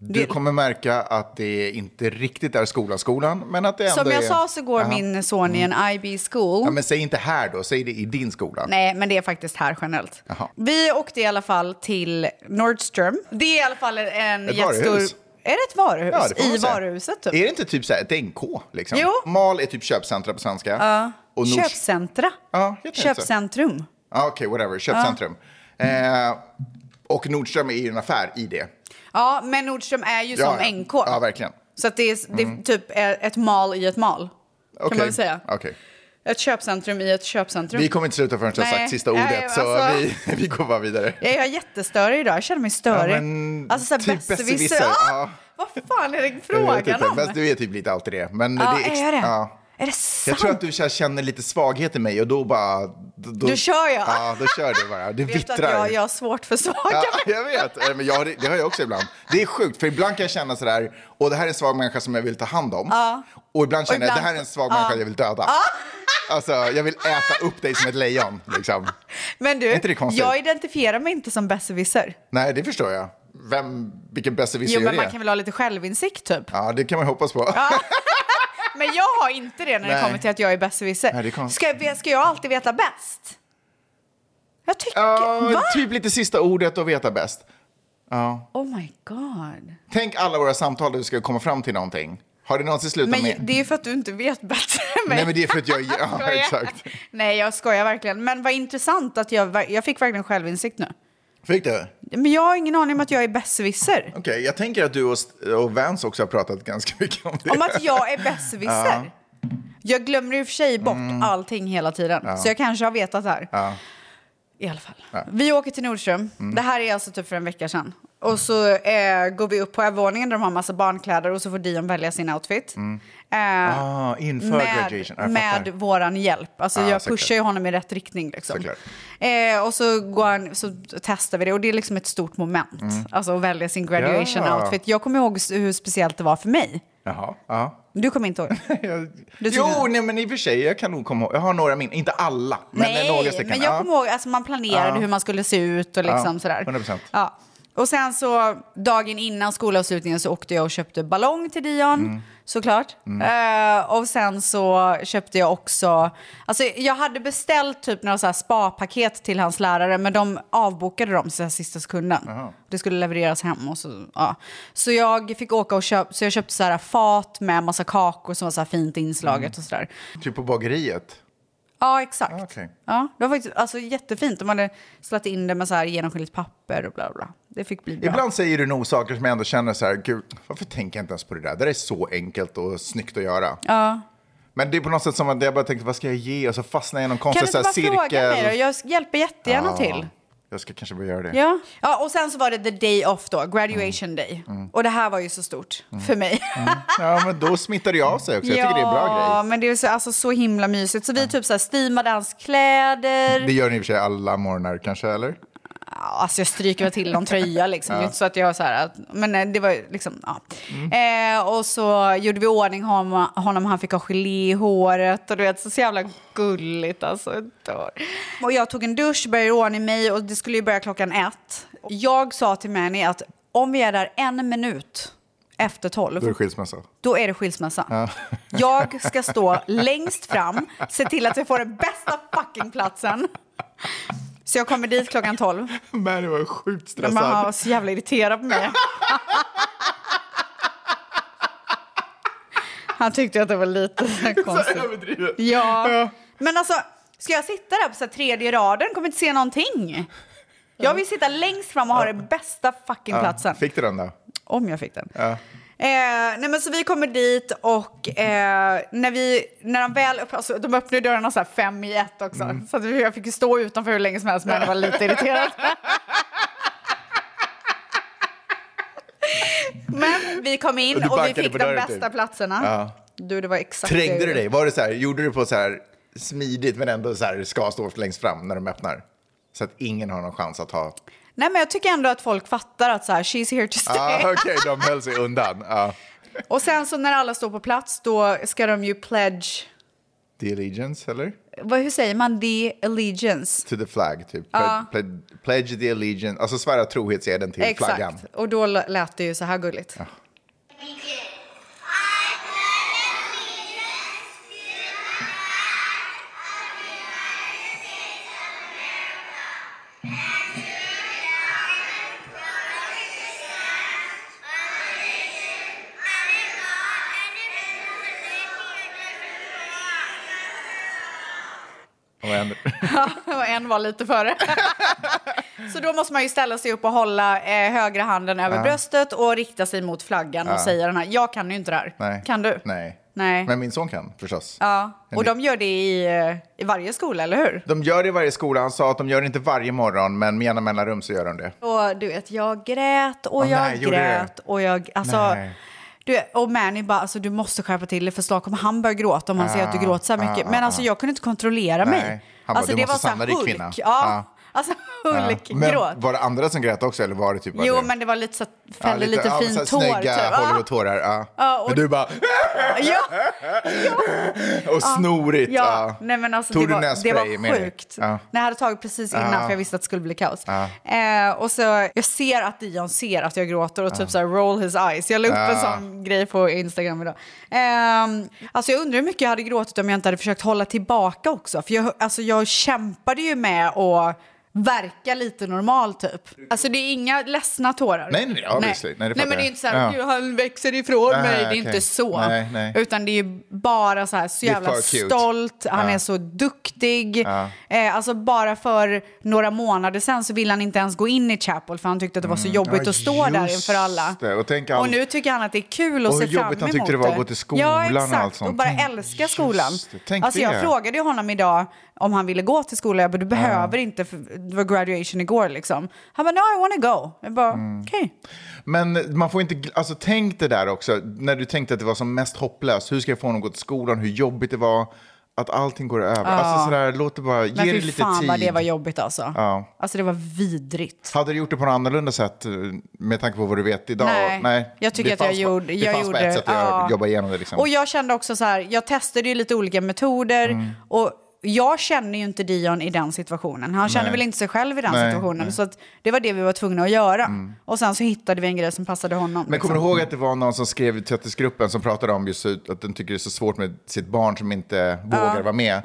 Speaker 1: Du kommer märka att det inte riktigt är skolan, skolan, men att det ändå
Speaker 2: Som jag
Speaker 1: är...
Speaker 2: sa så går
Speaker 1: Aha. Mm.
Speaker 2: min son i en IB school.
Speaker 1: Ja, men säg inte här då, säg det i din skola.
Speaker 2: Nej, men det är faktiskt här generellt.
Speaker 1: Jaha.
Speaker 2: Vi åkte i alla fall till Nordstrom. Det är i alla fall en
Speaker 1: Ett
Speaker 2: jättestor...
Speaker 1: varuhus.
Speaker 2: Är det ett varuhus?
Speaker 1: Ja, det får man
Speaker 2: I
Speaker 1: säga.
Speaker 2: varuhuset typ.
Speaker 1: Är det inte typ så här ett NK? Liksom?
Speaker 2: Jo.
Speaker 1: Mal är typ köpcentra på svenska. Ja. Och Nord...
Speaker 2: Köpcentra.
Speaker 1: Ja, heter det så?
Speaker 2: Köpcentrum.
Speaker 1: Ja, Okej, whatever. Köpcentrum. Eh, och Nordström är ju en affär i det.
Speaker 2: Ja, men Nordstrom är ju
Speaker 1: Ja, ja.
Speaker 2: som NK.
Speaker 1: Ja, verkligen. Mm.
Speaker 2: Så att det är, det är typ ett mal i ett mal. Kan man väl säga.
Speaker 1: Okej.
Speaker 2: Ett köpcentrum i ett köpcentrum.
Speaker 1: Vi kommer inte sluta förrän jag har
Speaker 2: Nej.
Speaker 1: sagt sista
Speaker 2: Nej,
Speaker 1: ordet, så
Speaker 2: alltså-
Speaker 1: vi, (laughs) vi går bara vidare.
Speaker 2: Jag är jättestörig idag, jag känner mig störig.
Speaker 1: Ja, men
Speaker 2: alltså såhär
Speaker 1: typ
Speaker 2: besserwisser.
Speaker 1: besserwisser,
Speaker 2: Ah!
Speaker 1: ja. typ
Speaker 2: Vad fan är det
Speaker 1: Jag
Speaker 2: frågan
Speaker 1: vet inte,
Speaker 2: om?
Speaker 1: Fast du är typ lite alltid det. Men
Speaker 2: Ja,
Speaker 1: det
Speaker 2: är
Speaker 1: ex-
Speaker 2: jag det?
Speaker 1: Ja.
Speaker 2: Är det sant?
Speaker 1: Jag tror att du så här känner lite svaghet i mig och då bara... Då,
Speaker 2: Då kör jag.
Speaker 1: Ja, då kör du bara. Det
Speaker 2: Vet du att
Speaker 1: vittrar.
Speaker 2: jag, jag har svårt för svaga
Speaker 1: Ja, jag vet. Nej, Men jag, det har jag också ibland. Det är sjukt, för ibland kan jag känna sådär, och det här är en svag människa som jag vill ta hand om. Och ibland känner jag,
Speaker 2: ibland-
Speaker 1: det här är en svag människa jag vill döda. Alltså, jag vill äta upp dig som ett lejon. Liksom.
Speaker 2: Men
Speaker 1: Är
Speaker 2: du,
Speaker 1: inte det konstigt?
Speaker 2: jag identifierar mig inte som besserwisser.
Speaker 1: Nej, det förstår jag. Vem, vilken besserwisser
Speaker 2: Jo,
Speaker 1: gör
Speaker 2: men
Speaker 1: det?
Speaker 2: man kan väl ha lite självinsikt typ.
Speaker 1: Ja, det kan man ju hoppas på. (laughs)
Speaker 2: Men jag har inte det när det
Speaker 1: Nej.
Speaker 2: kommer till att jag
Speaker 1: Nej,
Speaker 2: är
Speaker 1: det är
Speaker 2: besserwisser.
Speaker 1: konstigt.
Speaker 2: Ska, jag- ska jag alltid veta bäst? Jag tycker...
Speaker 1: Ja,
Speaker 2: Va?
Speaker 1: typ lite sista ordet och veta bäst.
Speaker 2: Oh my god.
Speaker 1: Tänk alla våra samtal där vi ska komma fram till någonting. Har det någonsin slutat
Speaker 2: Men
Speaker 1: med...
Speaker 2: det är ju för att du inte vet bättre än mig.
Speaker 1: Nej, men det är för att
Speaker 2: (laughs)
Speaker 1: jag... Ja,
Speaker 2: Skojar.
Speaker 1: exakt.
Speaker 2: Nej, jag skojar verkligen. Men vad intressant att jag, ver- jag fick verkligen självinsikt nu.
Speaker 1: Fick du? Okej,
Speaker 2: Men jag har ingen aning om att jag är besserwisser.
Speaker 1: jag tänker att du och, St- och Vance också har pratat ganska (laughs) mycket om det.
Speaker 2: Om att jag är besserwisser. Jag glömmer i och för sig bort
Speaker 1: Mm.
Speaker 2: allting hela tiden. Så jag kanske har vetat det här. I alla fall. Vi åker till Nordström.
Speaker 1: Mm.
Speaker 2: Det här är alltså typ för en vecka sedan. Och så eh, går vi upp på övervåningen där de har massa barnkläder och så får Dion välja sin outfit. Eh,
Speaker 1: Mm. Ah, inför graduation. Ja,
Speaker 2: med,
Speaker 1: jag
Speaker 2: med
Speaker 1: fattar.
Speaker 2: våran hjälp. Alltså
Speaker 1: Ah,
Speaker 2: jag
Speaker 1: såklart.
Speaker 2: pushar ju honom i rätt riktning. Liksom.
Speaker 1: Såklart.
Speaker 2: Eh, och så, går han, så testar vi det och det är liksom ett stort moment. Alltså att välja sin graduation
Speaker 1: Mm. Ja.
Speaker 2: outfit. Jag kommer ihåg s- hur speciellt det var för mig.
Speaker 1: Jaha. Ja.
Speaker 2: (laughs) Du kommer inte ihåg det?
Speaker 1: Jag...
Speaker 2: Du
Speaker 1: Jo,
Speaker 2: tycker-
Speaker 1: nej, men i och för sig, jag kan nog komma ihåg. Jag har några min, inte alla, (laughs) men några stycken.
Speaker 2: men jag kommer ihåg, alltså man planerade hur man skulle se ut och liksom
Speaker 1: Ja,
Speaker 2: sådär.
Speaker 1: 100%.
Speaker 2: Ja. Och sen så dagen innan skolavslutningen så åkte jag och köpte ballong till Dion,
Speaker 1: Mm.
Speaker 2: såklart. Eh, och sen så köpte jag också, alltså jag hade beställt typ några så här spa-paket till hans lärare men de avbokade dem så här sista sekunden. Det skulle levereras hem och så, ja. Så jag fick åka och köpa, så jag köpte så här fat med massa kakor som var så här fint inslaget och sådär.
Speaker 1: ja. Typ på bageriet.
Speaker 2: Ja, exakt.
Speaker 1: Ah, okej.
Speaker 2: Ja, det var faktiskt alltså, jättefint. De hade slagit in det med så här genomskinligt papper och bla bla. Det fick bli bra.
Speaker 1: Ibland säger du nog saker som jag ändå känner så här, gud, varför tänker jag inte ens på det där? Det där är så enkelt och snyggt att göra.
Speaker 2: Ja.
Speaker 1: Men det är på något sätt som att jag bara tänkte, vad ska jag ge? Och så fastnar jag i någon
Speaker 2: Kan du
Speaker 1: konstig
Speaker 2: inte
Speaker 1: så
Speaker 2: bara
Speaker 1: här, cirkel.
Speaker 2: fråga mig då? Jag hjälper jättegärna
Speaker 1: Ja,
Speaker 2: till.
Speaker 1: Jag ska kanske börja göra det.
Speaker 2: Ja. ja, och sen så var det the day off då,
Speaker 1: Mm.
Speaker 2: graduation day. Och det här var ju så stort för mig.
Speaker 1: Ja, men då smittar det ju av sig också. Mm. Jag tycker det är en bra
Speaker 2: (laughs) Ja,
Speaker 1: grej.
Speaker 2: men det är så, alltså, så himla mysigt. Så vi typ så här steamade hans kläder.
Speaker 1: Det gör ni i och för sig alla morgnar kanske, eller?
Speaker 2: Ja, Alltså jag stryker väl till någon
Speaker 1: (laughs)
Speaker 2: tröja liksom. Det är inte så att jag så här, att, men eh, det var ju liksom, ja. Eh, och så gjorde vi i ordning honom, honom, han fick ha gelé i håret och du vet, så, så jävla gulligt alltså. jag dör. Och jag tog en dusch, började i ordning mig och det skulle ju börja klockan ett. Jag sa till Mani att om vi är där en minut efter tolv,
Speaker 1: Då är det skilsmässa.
Speaker 2: då är det skilsmässa. (laughs) Jag ska stå längst fram, se till att jag får den bästa fucking platsen. Så jag kommer dit klockan tolv.
Speaker 1: Men det var sjukt
Speaker 2: Men alltså, mamma var så jävla irriterad på (laughs) mig. Han tyckte att det var lite (laughs) så här konstigt.
Speaker 1: överdrivet.
Speaker 2: alltså. Ja. Men alltså, ska jag sitta där på så här tredje raden? Kommer inte se någonting. Jag vill sitta längst fram och ha den bästa fucking platsen.
Speaker 1: Fick du den då?
Speaker 2: Om jag fick den. Eh, nej men så vi kommer dit och eh, när, vi, när de väl öpp- alltså, de öppnade dörrarna så här fem i ett också.
Speaker 1: Mm.
Speaker 2: Så att jag fick ju stå utanför hur länge som helst men jag var
Speaker 1: (laughs)
Speaker 2: lite irriterad. men vi kom in
Speaker 1: Och du
Speaker 2: och, vi
Speaker 1: backade
Speaker 2: fick
Speaker 1: på
Speaker 2: de
Speaker 1: dörren,
Speaker 2: bästa
Speaker 1: typ.
Speaker 2: platserna. Du, det var exakt det jag
Speaker 1: Trängde du
Speaker 2: gjorde.
Speaker 1: dig? Var det så här, gjorde du på så här smidigt men ändå så här ska stå längst fram när de öppnar? Så att ingen har någon chans att ha...
Speaker 2: Nej men jag tycker ändå att folk fattar att så här, she's here to stay. (laughs)
Speaker 1: Ah, Okej, de höll sig undan. Ah.
Speaker 2: Och sen så när alla står på plats då ska de ju pledge,
Speaker 1: The allegiance, eller?
Speaker 2: vad, hur säger man, the allegiance.
Speaker 1: To the flag, typ. Ple- ple- pledge the allegiance, alltså svära trohetseden till
Speaker 2: Exakt.
Speaker 1: flaggan.
Speaker 2: Och då l- lät det ju så här gulligt.
Speaker 1: Och
Speaker 2: (laughs)
Speaker 1: en-
Speaker 2: (laughs) Och en var
Speaker 1: (laughs)
Speaker 2: lite före. så då måste man ju ställa sig upp och hålla eh, högra handen över bröstet och rikta sig mot flaggan och säga den här. Jag kan ju inte det här.
Speaker 1: Nej.
Speaker 2: Kan du?
Speaker 1: Nej.
Speaker 2: Nej.
Speaker 1: Men min son kan, förstås.
Speaker 2: Ja. Och de gör det i, eh, i varje skola, eller hur?
Speaker 1: De gör det i varje skola. Han sa att de gör det inte varje morgon, men med jämna mellanrum så gör de det.
Speaker 2: Och du vet, jag grät och
Speaker 1: Åh,
Speaker 2: jag
Speaker 1: nej, gjorde du
Speaker 2: grät och jag... Alltså,
Speaker 1: Nej.
Speaker 2: Du, och Mani bara, alltså, du måste skärpa till dig för snart kommer han börja gråta om han ser att du gråter så här
Speaker 1: ah,
Speaker 2: mycket.
Speaker 1: ah,
Speaker 2: Men
Speaker 1: ah.
Speaker 2: alltså jag kunde inte kontrollera
Speaker 1: Nej.
Speaker 2: mig.
Speaker 1: Han bara,
Speaker 2: alltså,
Speaker 1: "Du måste
Speaker 2: så här
Speaker 1: samla dig,
Speaker 2: Hulk.
Speaker 1: kvinna."
Speaker 2: Ja,
Speaker 1: Ah.
Speaker 2: alltså
Speaker 1: Men
Speaker 2: Hulk-gråt.
Speaker 1: var det andra som grät också eller var det typ bara
Speaker 2: Jo,
Speaker 1: du?
Speaker 2: men det var lite så att fällde lite,
Speaker 1: ja, men så här
Speaker 2: fint tår.
Speaker 1: Snygga
Speaker 2: typ.
Speaker 1: Hollywood-tårar. Ja.
Speaker 2: Ja, och-
Speaker 1: men
Speaker 2: (laughs)
Speaker 1: du bara...
Speaker 2: Ah, ja.
Speaker 1: Och snorigt.
Speaker 2: Ja,
Speaker 1: ja.
Speaker 2: nej men alltså
Speaker 1: Tog
Speaker 2: det,
Speaker 1: du
Speaker 2: var, det
Speaker 1: nässpray med
Speaker 2: var
Speaker 1: dig?
Speaker 2: sjukt.
Speaker 1: Ja.
Speaker 2: Nej, jag hade tagit precis innan
Speaker 1: Ja.
Speaker 2: för jag visste att det skulle bli kaos. Eh, och så, jag ser att Dion ser att jag gråter och typ så här roll his eyes. Jag la upp en sån grej på Instagram idag. Ehm, alltså jag undrar hur mycket jag hade gråtit om jag inte hade försökt hålla tillbaka också. För jag, alltså jag kämpade ju med att verka lite normal typ. Alltså det är inga ledsna tårar.
Speaker 1: Nej, nej, nej, obviously. Nej, det
Speaker 2: nej
Speaker 1: fattar
Speaker 2: men det är
Speaker 1: jag.
Speaker 2: inte så här,
Speaker 1: Ja.
Speaker 2: "Gud, han växer ifrån
Speaker 1: Nej,
Speaker 2: mig. Det är
Speaker 1: okej.
Speaker 2: inte så.
Speaker 1: Nej, nej.
Speaker 2: Utan det är ju bara så här, så
Speaker 1: Det är
Speaker 2: jävla
Speaker 1: för cute.
Speaker 2: stolt, han
Speaker 1: Ja.
Speaker 2: är så duktig. Eh, alltså bara för några månader sedan så ville han inte ens gå in i Chapel för han tyckte att det var så jobbigt
Speaker 1: Mm. Ja,
Speaker 2: att stå där
Speaker 1: just
Speaker 2: inför alla.
Speaker 1: det. Och tänk allt-
Speaker 2: nu tycker han att det är kul att
Speaker 1: Och
Speaker 2: se
Speaker 1: hur
Speaker 2: fram emot
Speaker 1: jobbigt han tyckte det var att gå till skolan
Speaker 2: ja,
Speaker 1: och
Speaker 2: exakt.
Speaker 1: allt sånt.
Speaker 2: och bara
Speaker 1: Tänk-
Speaker 2: älska
Speaker 1: just
Speaker 2: skolan.
Speaker 1: det. Tänk
Speaker 2: Alltså jag
Speaker 1: det.
Speaker 2: frågade ju honom idag om han ville gå till skolan. Jag bara, du behöver inte, för det var graduation igår liksom. Han bara, no I wanna go. Jag bara,
Speaker 1: Mm.
Speaker 2: okej.
Speaker 1: Men man får inte, gl- alltså tänk det där också, när du tänkte att det var som mest hopplöst, hur ska jag få honom att gå till skolan, hur jobbigt det var, att allting går över. Alltså sådär, låt det bara,
Speaker 2: Men
Speaker 1: ge det
Speaker 2: fy
Speaker 1: lite
Speaker 2: fan
Speaker 1: tid.
Speaker 2: vad det var jobbigt alltså. Alltså det var vidrigt.
Speaker 1: Hade du gjort det på något annorlunda sätt eh, med tanke på vad du vet idag?
Speaker 2: Nej, jag tycker
Speaker 1: det
Speaker 2: att jag
Speaker 1: fanns Bara,
Speaker 2: gjorde...
Speaker 1: det
Speaker 2: jag
Speaker 1: fanns
Speaker 2: gjorde,
Speaker 1: bara ett sätt att göra-
Speaker 2: ja.
Speaker 1: jobba igenom det. Liksom.
Speaker 2: Och jag kände också så här, jag testade ju lite olika metoder Mm. och jag känner ju inte Dion i den situationen. Han känner
Speaker 1: Nej.
Speaker 2: väl inte sig själv i den
Speaker 1: Nej,
Speaker 2: situationen.
Speaker 1: nej.
Speaker 2: Så att det var det vi var tvungna att göra. Och sen så hittade vi en grej som passade honom. liksom.
Speaker 1: Men kommer du ihåg att det var någon som skrev i tvättisgruppen som pratade om just att den tycker det är så svårt med sitt barn som inte vågar vara med?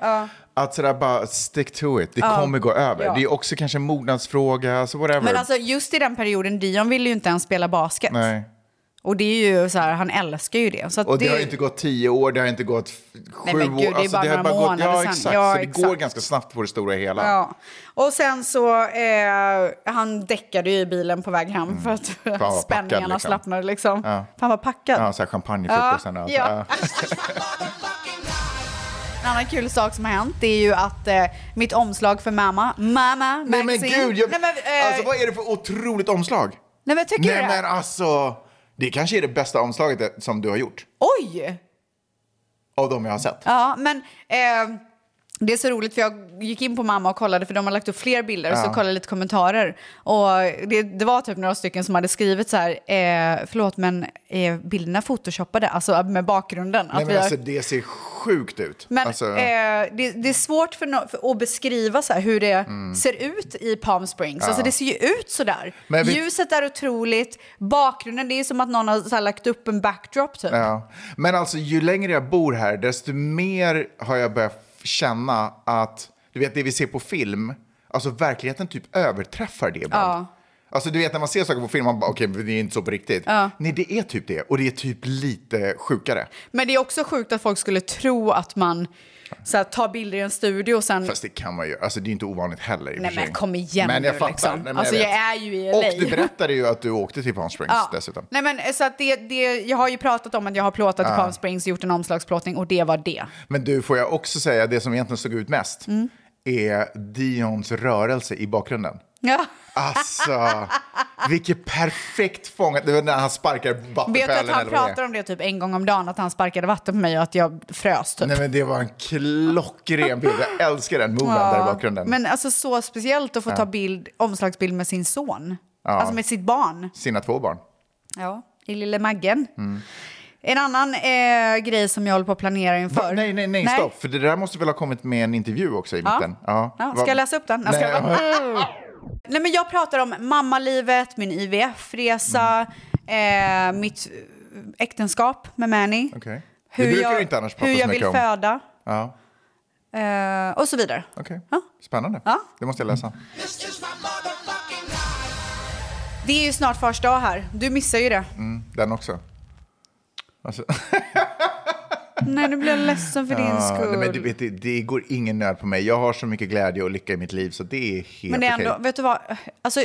Speaker 1: Att sådär bara stick to it, det kommer gå över.
Speaker 2: Ja.
Speaker 1: Det är också kanske en mognadsfråga, så whatever.
Speaker 2: Men alltså just i den perioden, Dion ville ju inte ens spela basket.
Speaker 1: Nej.
Speaker 2: Och det är ju så här, han älskar ju det. Så att
Speaker 1: Och det, har inte gått tio år, det har inte gått f- sju
Speaker 2: men gud, det
Speaker 1: år. Alltså,
Speaker 2: är bara
Speaker 1: har
Speaker 2: några månader
Speaker 1: ja,
Speaker 2: sedan.
Speaker 1: Exakt,
Speaker 2: Ja,
Speaker 1: så det
Speaker 2: exakt.
Speaker 1: går ganska snabbt på det stora hela.
Speaker 2: Ja. Och sen så, eh, han däckade ju i bilen på väg hem för att
Speaker 1: vad
Speaker 2: spänningarna
Speaker 1: packad, liksom.
Speaker 2: slappnade liksom.
Speaker 1: Ja.
Speaker 2: Fan var packad.
Speaker 1: Ja, så här champagnefrukosten alltså. och allt.
Speaker 2: ja.
Speaker 1: Ja.
Speaker 2: En annan kul sak som har hänt det är ju att eh, mitt omslag för Mamma, Mamma
Speaker 1: Nej
Speaker 2: Magazine.
Speaker 1: men gud, jag,
Speaker 2: nej, men, eh,
Speaker 1: alltså, vad är det för otroligt omslag?
Speaker 2: nej men tycker
Speaker 1: Nej
Speaker 2: du det?
Speaker 1: men alltså, det kanske är det bästa omslaget eh, som du har gjort.
Speaker 2: Oj!
Speaker 1: Av de jag har sett.
Speaker 2: Ja, men eh, det är så roligt för jag gick in på mamma och kollade för de har lagt upp fler bilder och så kollade jag lite kommentarer. Och det, det var typ några stycken som hade skrivit så här, eh, förlåt men eh, bilderna photoshoppade, alltså med bakgrunden.
Speaker 1: Nej,
Speaker 2: att vi
Speaker 1: men
Speaker 2: har,
Speaker 1: alltså, det ser sjukt ut.
Speaker 2: men
Speaker 1: alltså,
Speaker 2: eh, det, det är svårt för, no- för att beskriva så här, hur det
Speaker 1: Mm.
Speaker 2: ser ut i Palm Springs. Alltså det ser ju ut så där.
Speaker 1: Men vi-
Speaker 2: Ljuset är otroligt, bakgrunden, det är som att någon har så här, lagt upp en backdrop typ.
Speaker 1: ja. men alltså ju längre jag bor här, desto mer har jag börjat känna att, du vet det vi ser på film, alltså verkligheten typ överträffar det ibland. Alltså du vet när man ser saker på film, man bara okej, men det är inte så på riktigt. Nej, det är typ det. Och det är typ lite sjukare.
Speaker 2: Men det är också sjukt att folk skulle tro att man så här, tar bilder i en studio och sen...
Speaker 1: Fast det kan man ju. Alltså det är inte ovanligt heller. i och
Speaker 2: Nej,
Speaker 1: för sig.
Speaker 2: men kom igen
Speaker 1: Men jag
Speaker 2: nu,
Speaker 1: fattar.
Speaker 2: liksom.
Speaker 1: Nej, men
Speaker 2: Alltså, jag
Speaker 1: vet.
Speaker 2: är ju i LA.
Speaker 1: Och du berättade ju att du åkte till Palm Springs dessutom.
Speaker 2: Nej, men, eh, så att det, det, jag har ju pratat om att jag har plåtat i Palm Springs, gjort en omslagsplåtning och det var det.
Speaker 1: Men du, får jag också säga, det som egentligen stod ut mest är Dions rörelse i bakgrunden.
Speaker 2: Ja. (laughs)
Speaker 1: Alltså, vilket perfekt fångat. Det var när han sparkar
Speaker 2: Vet du
Speaker 1: vattenpölen
Speaker 2: att han
Speaker 1: eller vad det
Speaker 2: pratar
Speaker 1: är.
Speaker 2: om det typ en gång om dagen, att han sparkade vatten på mig och att jag frös typ.
Speaker 1: Nej men det var en klockren bild. Jag älskar den moven där i bakgrunden.
Speaker 2: Men alltså så speciellt att få ta bild, omslagsbild med sin son. Alltså med sitt barn.
Speaker 1: Sina två barn.
Speaker 2: Ja, i lille Maggen.
Speaker 1: Mm.
Speaker 2: En annan eh, grej som jag håller på att planera inför.
Speaker 1: Va? Nej, nej, nej, stopp. För det där måste väl ha kommit med en intervju också i mitten?
Speaker 2: Ja, ska
Speaker 1: Va-
Speaker 2: jag läsa upp den? Jag ska-
Speaker 1: Nej, men-
Speaker 2: (laughs) Nej, men jag pratar om mammalivet, min IVF-resa,
Speaker 1: Mm.
Speaker 2: eh, mitt eh, äktenskap med Manny.
Speaker 1: Okej. Det brukar du inte annars prata
Speaker 2: Hur
Speaker 1: så
Speaker 2: jag vill
Speaker 1: mycket om.
Speaker 2: föda
Speaker 1: ja,
Speaker 2: eh, och så vidare.
Speaker 1: okej.
Speaker 2: Ja.
Speaker 1: Spännande.
Speaker 2: Ja.
Speaker 1: Det måste jag läsa.
Speaker 2: Det är ju snart fars dag här. Du missar ju det.
Speaker 1: Den också. Alltså,
Speaker 2: Nej, nu blir jag ledsen för din
Speaker 1: ja,
Speaker 2: skull.
Speaker 1: Ah, nej, men du vet, det, det går ingen nöd på mig. Jag har så mycket glädje och lycka i mitt liv så det är helt
Speaker 2: Men det är ändå,
Speaker 1: okej.
Speaker 2: vet du vad? Alltså,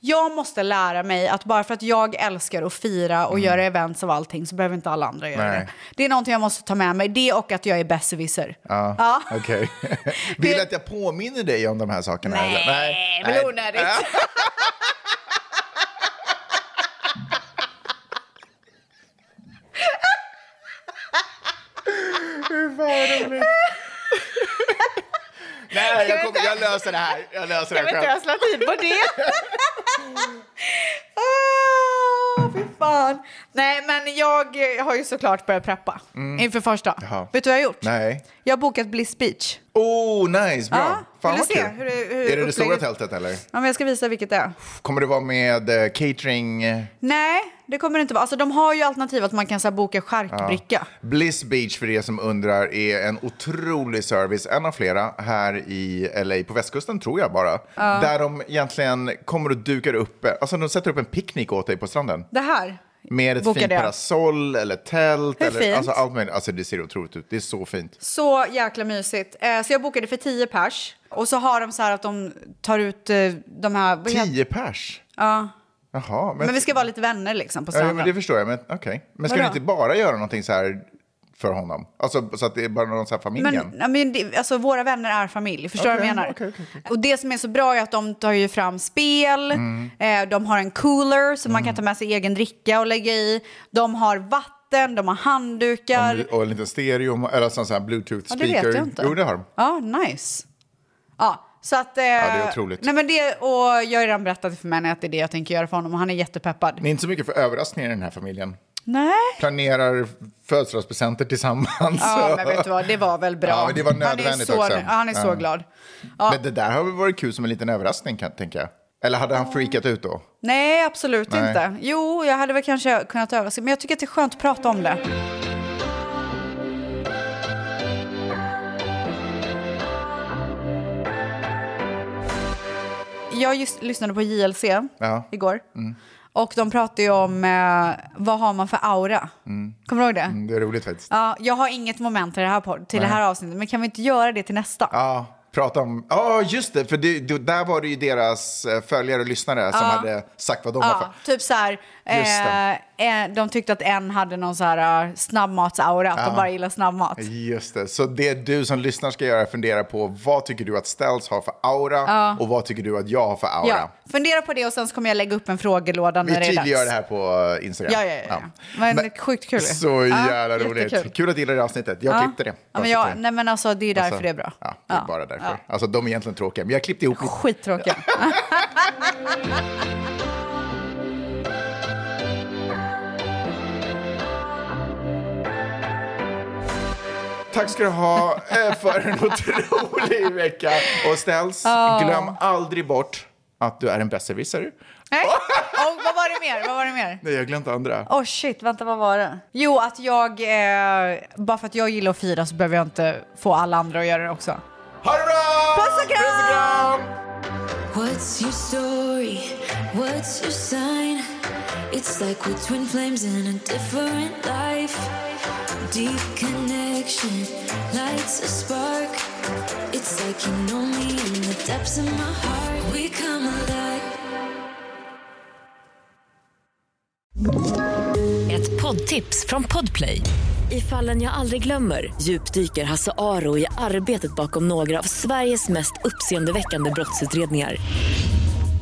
Speaker 2: jag måste lära mig att bara för att jag älskar att fira och göra events av allting så behöver inte alla andra göra
Speaker 1: Mm. Nej.
Speaker 2: det. Det är någonting jag måste ta med mig. Det och att jag är besserwisser.
Speaker 1: Ja,
Speaker 2: Ja. (laughs)
Speaker 1: okej. Vill du att jag påminner dig om de här sakerna?
Speaker 2: Nej,
Speaker 1: eller?
Speaker 2: men onödigt.
Speaker 1: vad roligt. Nej, jag, kommer, jag löser det här. Jag löser det
Speaker 2: Jag
Speaker 1: här
Speaker 2: vet inte
Speaker 1: själv.
Speaker 2: ödsla tid på
Speaker 1: (laughs)
Speaker 2: det. Åh, Ah, fy fan. Nej, men jag eh, har ju såklart börjat preppa inför första.
Speaker 1: Mm. Jaha.
Speaker 2: Vet du vad jag har gjort?
Speaker 1: Nej.
Speaker 2: Jag har bokat Bliss Beach.
Speaker 1: Oh, nice. Bra.
Speaker 2: Ja,
Speaker 1: Fan
Speaker 2: vill
Speaker 1: vad
Speaker 2: du
Speaker 1: kul.
Speaker 2: se hur det- hur
Speaker 1: är det det
Speaker 2: upplägget-
Speaker 1: stora tältet eller?
Speaker 2: Ja, men jag ska visa vilket det är.
Speaker 1: Kommer det vara med eh, catering? eh,
Speaker 2: Nej, det kommer det inte vara. Alltså, de har ju alternativ att man kan så här, boka charkbricka.
Speaker 1: Bliss Beach, för er som undrar, är en otrolig service, en av flera, här i LA, på västkusten tror jag bara. Där de egentligen kommer och dukar upp, alltså de sätter upp en picknick åt dig på stranden.
Speaker 2: Det här
Speaker 1: Med ett
Speaker 2: bokade
Speaker 1: fint
Speaker 2: jag.
Speaker 1: parasoll eller tält.
Speaker 2: Hur
Speaker 1: Eller,
Speaker 2: fint?
Speaker 1: alltså, allt möjligt. Alltså, det ser otroligt ut, det är så fint.
Speaker 2: Så jäkla mysigt. Eh, så jag bokade för 10 pers. Och så har de så här att de tar ut eh, de här... vad heter-
Speaker 1: Tio pers?
Speaker 2: Ja.
Speaker 1: Jaha, men,
Speaker 2: Men vi ska vara lite vänner liksom på
Speaker 1: ja,
Speaker 2: stranden.
Speaker 1: men det förstår jag. Men, okej. men ska
Speaker 2: Vadå?
Speaker 1: vi inte bara göra någonting så här för honom? Alltså så att det är bara någon så här familjen?
Speaker 2: Men, ja, men det, alltså, våra vänner är familj, förstår du vad
Speaker 1: Okej,
Speaker 2: jag menar?
Speaker 1: okej, okej, okej. Mm.
Speaker 2: Och det som är så bra är att de tar ju fram spel, eh, de har en cooler som man kan ta med sig egen dricka och lägga i, de har vatten, de har handdukar.
Speaker 1: Om- Och en liten stereo, eller sån här bluetooth
Speaker 2: Ja,
Speaker 1: speaker.
Speaker 2: det vet jag inte.
Speaker 1: Jo, det har de.
Speaker 2: Ja, nice. Ja, så att... Eh, ja,
Speaker 1: det är otroligt.
Speaker 2: Nej, men det, och jag har redan berättat för Männe att det är det jag tänker göra för honom och han är jättepeppad.
Speaker 1: Ni är inte så mycket för överraskningar i den här familjen.
Speaker 2: Nej.
Speaker 1: Planerar födelsedagspresenter tillsammans.
Speaker 2: Ja, men vet du vad, det var väl bra.
Speaker 1: Ja, men det var
Speaker 2: han är
Speaker 1: nödvändigt
Speaker 2: så,
Speaker 1: också.
Speaker 2: Ja, han är så
Speaker 1: Ja.
Speaker 2: glad.
Speaker 1: (laughs) Men det där har väl varit kul som en liten överraskning, kan, tänker jag. Eller hade han freakat ut då?
Speaker 2: Nej, absolut
Speaker 1: Nej.
Speaker 2: inte. Jo, jag hade väl kanske kunnat överraska, men jag tycker att det är skönt att prata om det. Jag just lyssnade på JLC
Speaker 1: Ja. Mm.
Speaker 2: igår. Och de pratade ju om eh, vad har man för aura. Kommer du ihåg det?
Speaker 1: Mm, Det är roligt faktiskt.
Speaker 2: Ja, jag har inget moment till, det här, pod- till det här avsnittet, men kan vi inte göra det till nästa?
Speaker 1: Ja, prata om... Ja, just det, för det, det, där var det ju deras eh, följare och lyssnare som hade sagt vad de var
Speaker 2: Ja,
Speaker 1: för.
Speaker 2: typ så här,
Speaker 1: Just
Speaker 2: eh, eh, de tyckte att en hade någon så här eh, snabbmatsaura, att de bara gillar snabbmat.
Speaker 1: Just det, så det du som lyssnar ska göra är att fundera på vad tycker du att Ställs har för aura och vad tycker du att jag har för aura?
Speaker 2: Ja, fundera på det och sen så kommer jag lägga upp en frågelåda
Speaker 1: Vi
Speaker 2: när det är dags.
Speaker 1: tydliggör det här på eh, Instagram.
Speaker 2: Ja, ja, ja. ja. Men, sjukt kul.
Speaker 1: Så jävla roligt. Kul att du gillar det här avsnittet. Jag klippte det.
Speaker 2: Ja,
Speaker 1: Jag
Speaker 2: men
Speaker 1: klippte
Speaker 2: jag,
Speaker 1: det.
Speaker 2: nej men alltså det är därför
Speaker 1: Alltså,
Speaker 2: det är bra.
Speaker 1: Ja, det är bara därför. Alltså, de är egentligen tråkiga, men jag klippte ihop mitt
Speaker 2: Skittråkiga.
Speaker 1: Tack ska du ha eh, för en
Speaker 2: (laughs)
Speaker 1: otrolig vecka. Och Ställs, glöm aldrig bort att du är en besserwisser.
Speaker 2: Nej. Och vad var det mer? Vad var det mer?
Speaker 1: Nej, jag har glömt andra.
Speaker 2: Åh shit, vänta vad var det? Jo, att jag, eh, bara för att jag gillar att fira så behöver jag inte få alla andra att göra det också.
Speaker 1: Ha det bra!
Speaker 2: Puss och kram!
Speaker 3: What's your story? What's your sign? It's like we're twin flames in a different life. Deep connection lights a spark. It's like you know me in the depths of my heart. We come alive.
Speaker 5: Ett poddtips från Podplay. I fallen jag aldrig glömmer djupdyker Hasse Aro i arbetet bakom några av Sveriges mest uppseendeväckande brottsutredningar.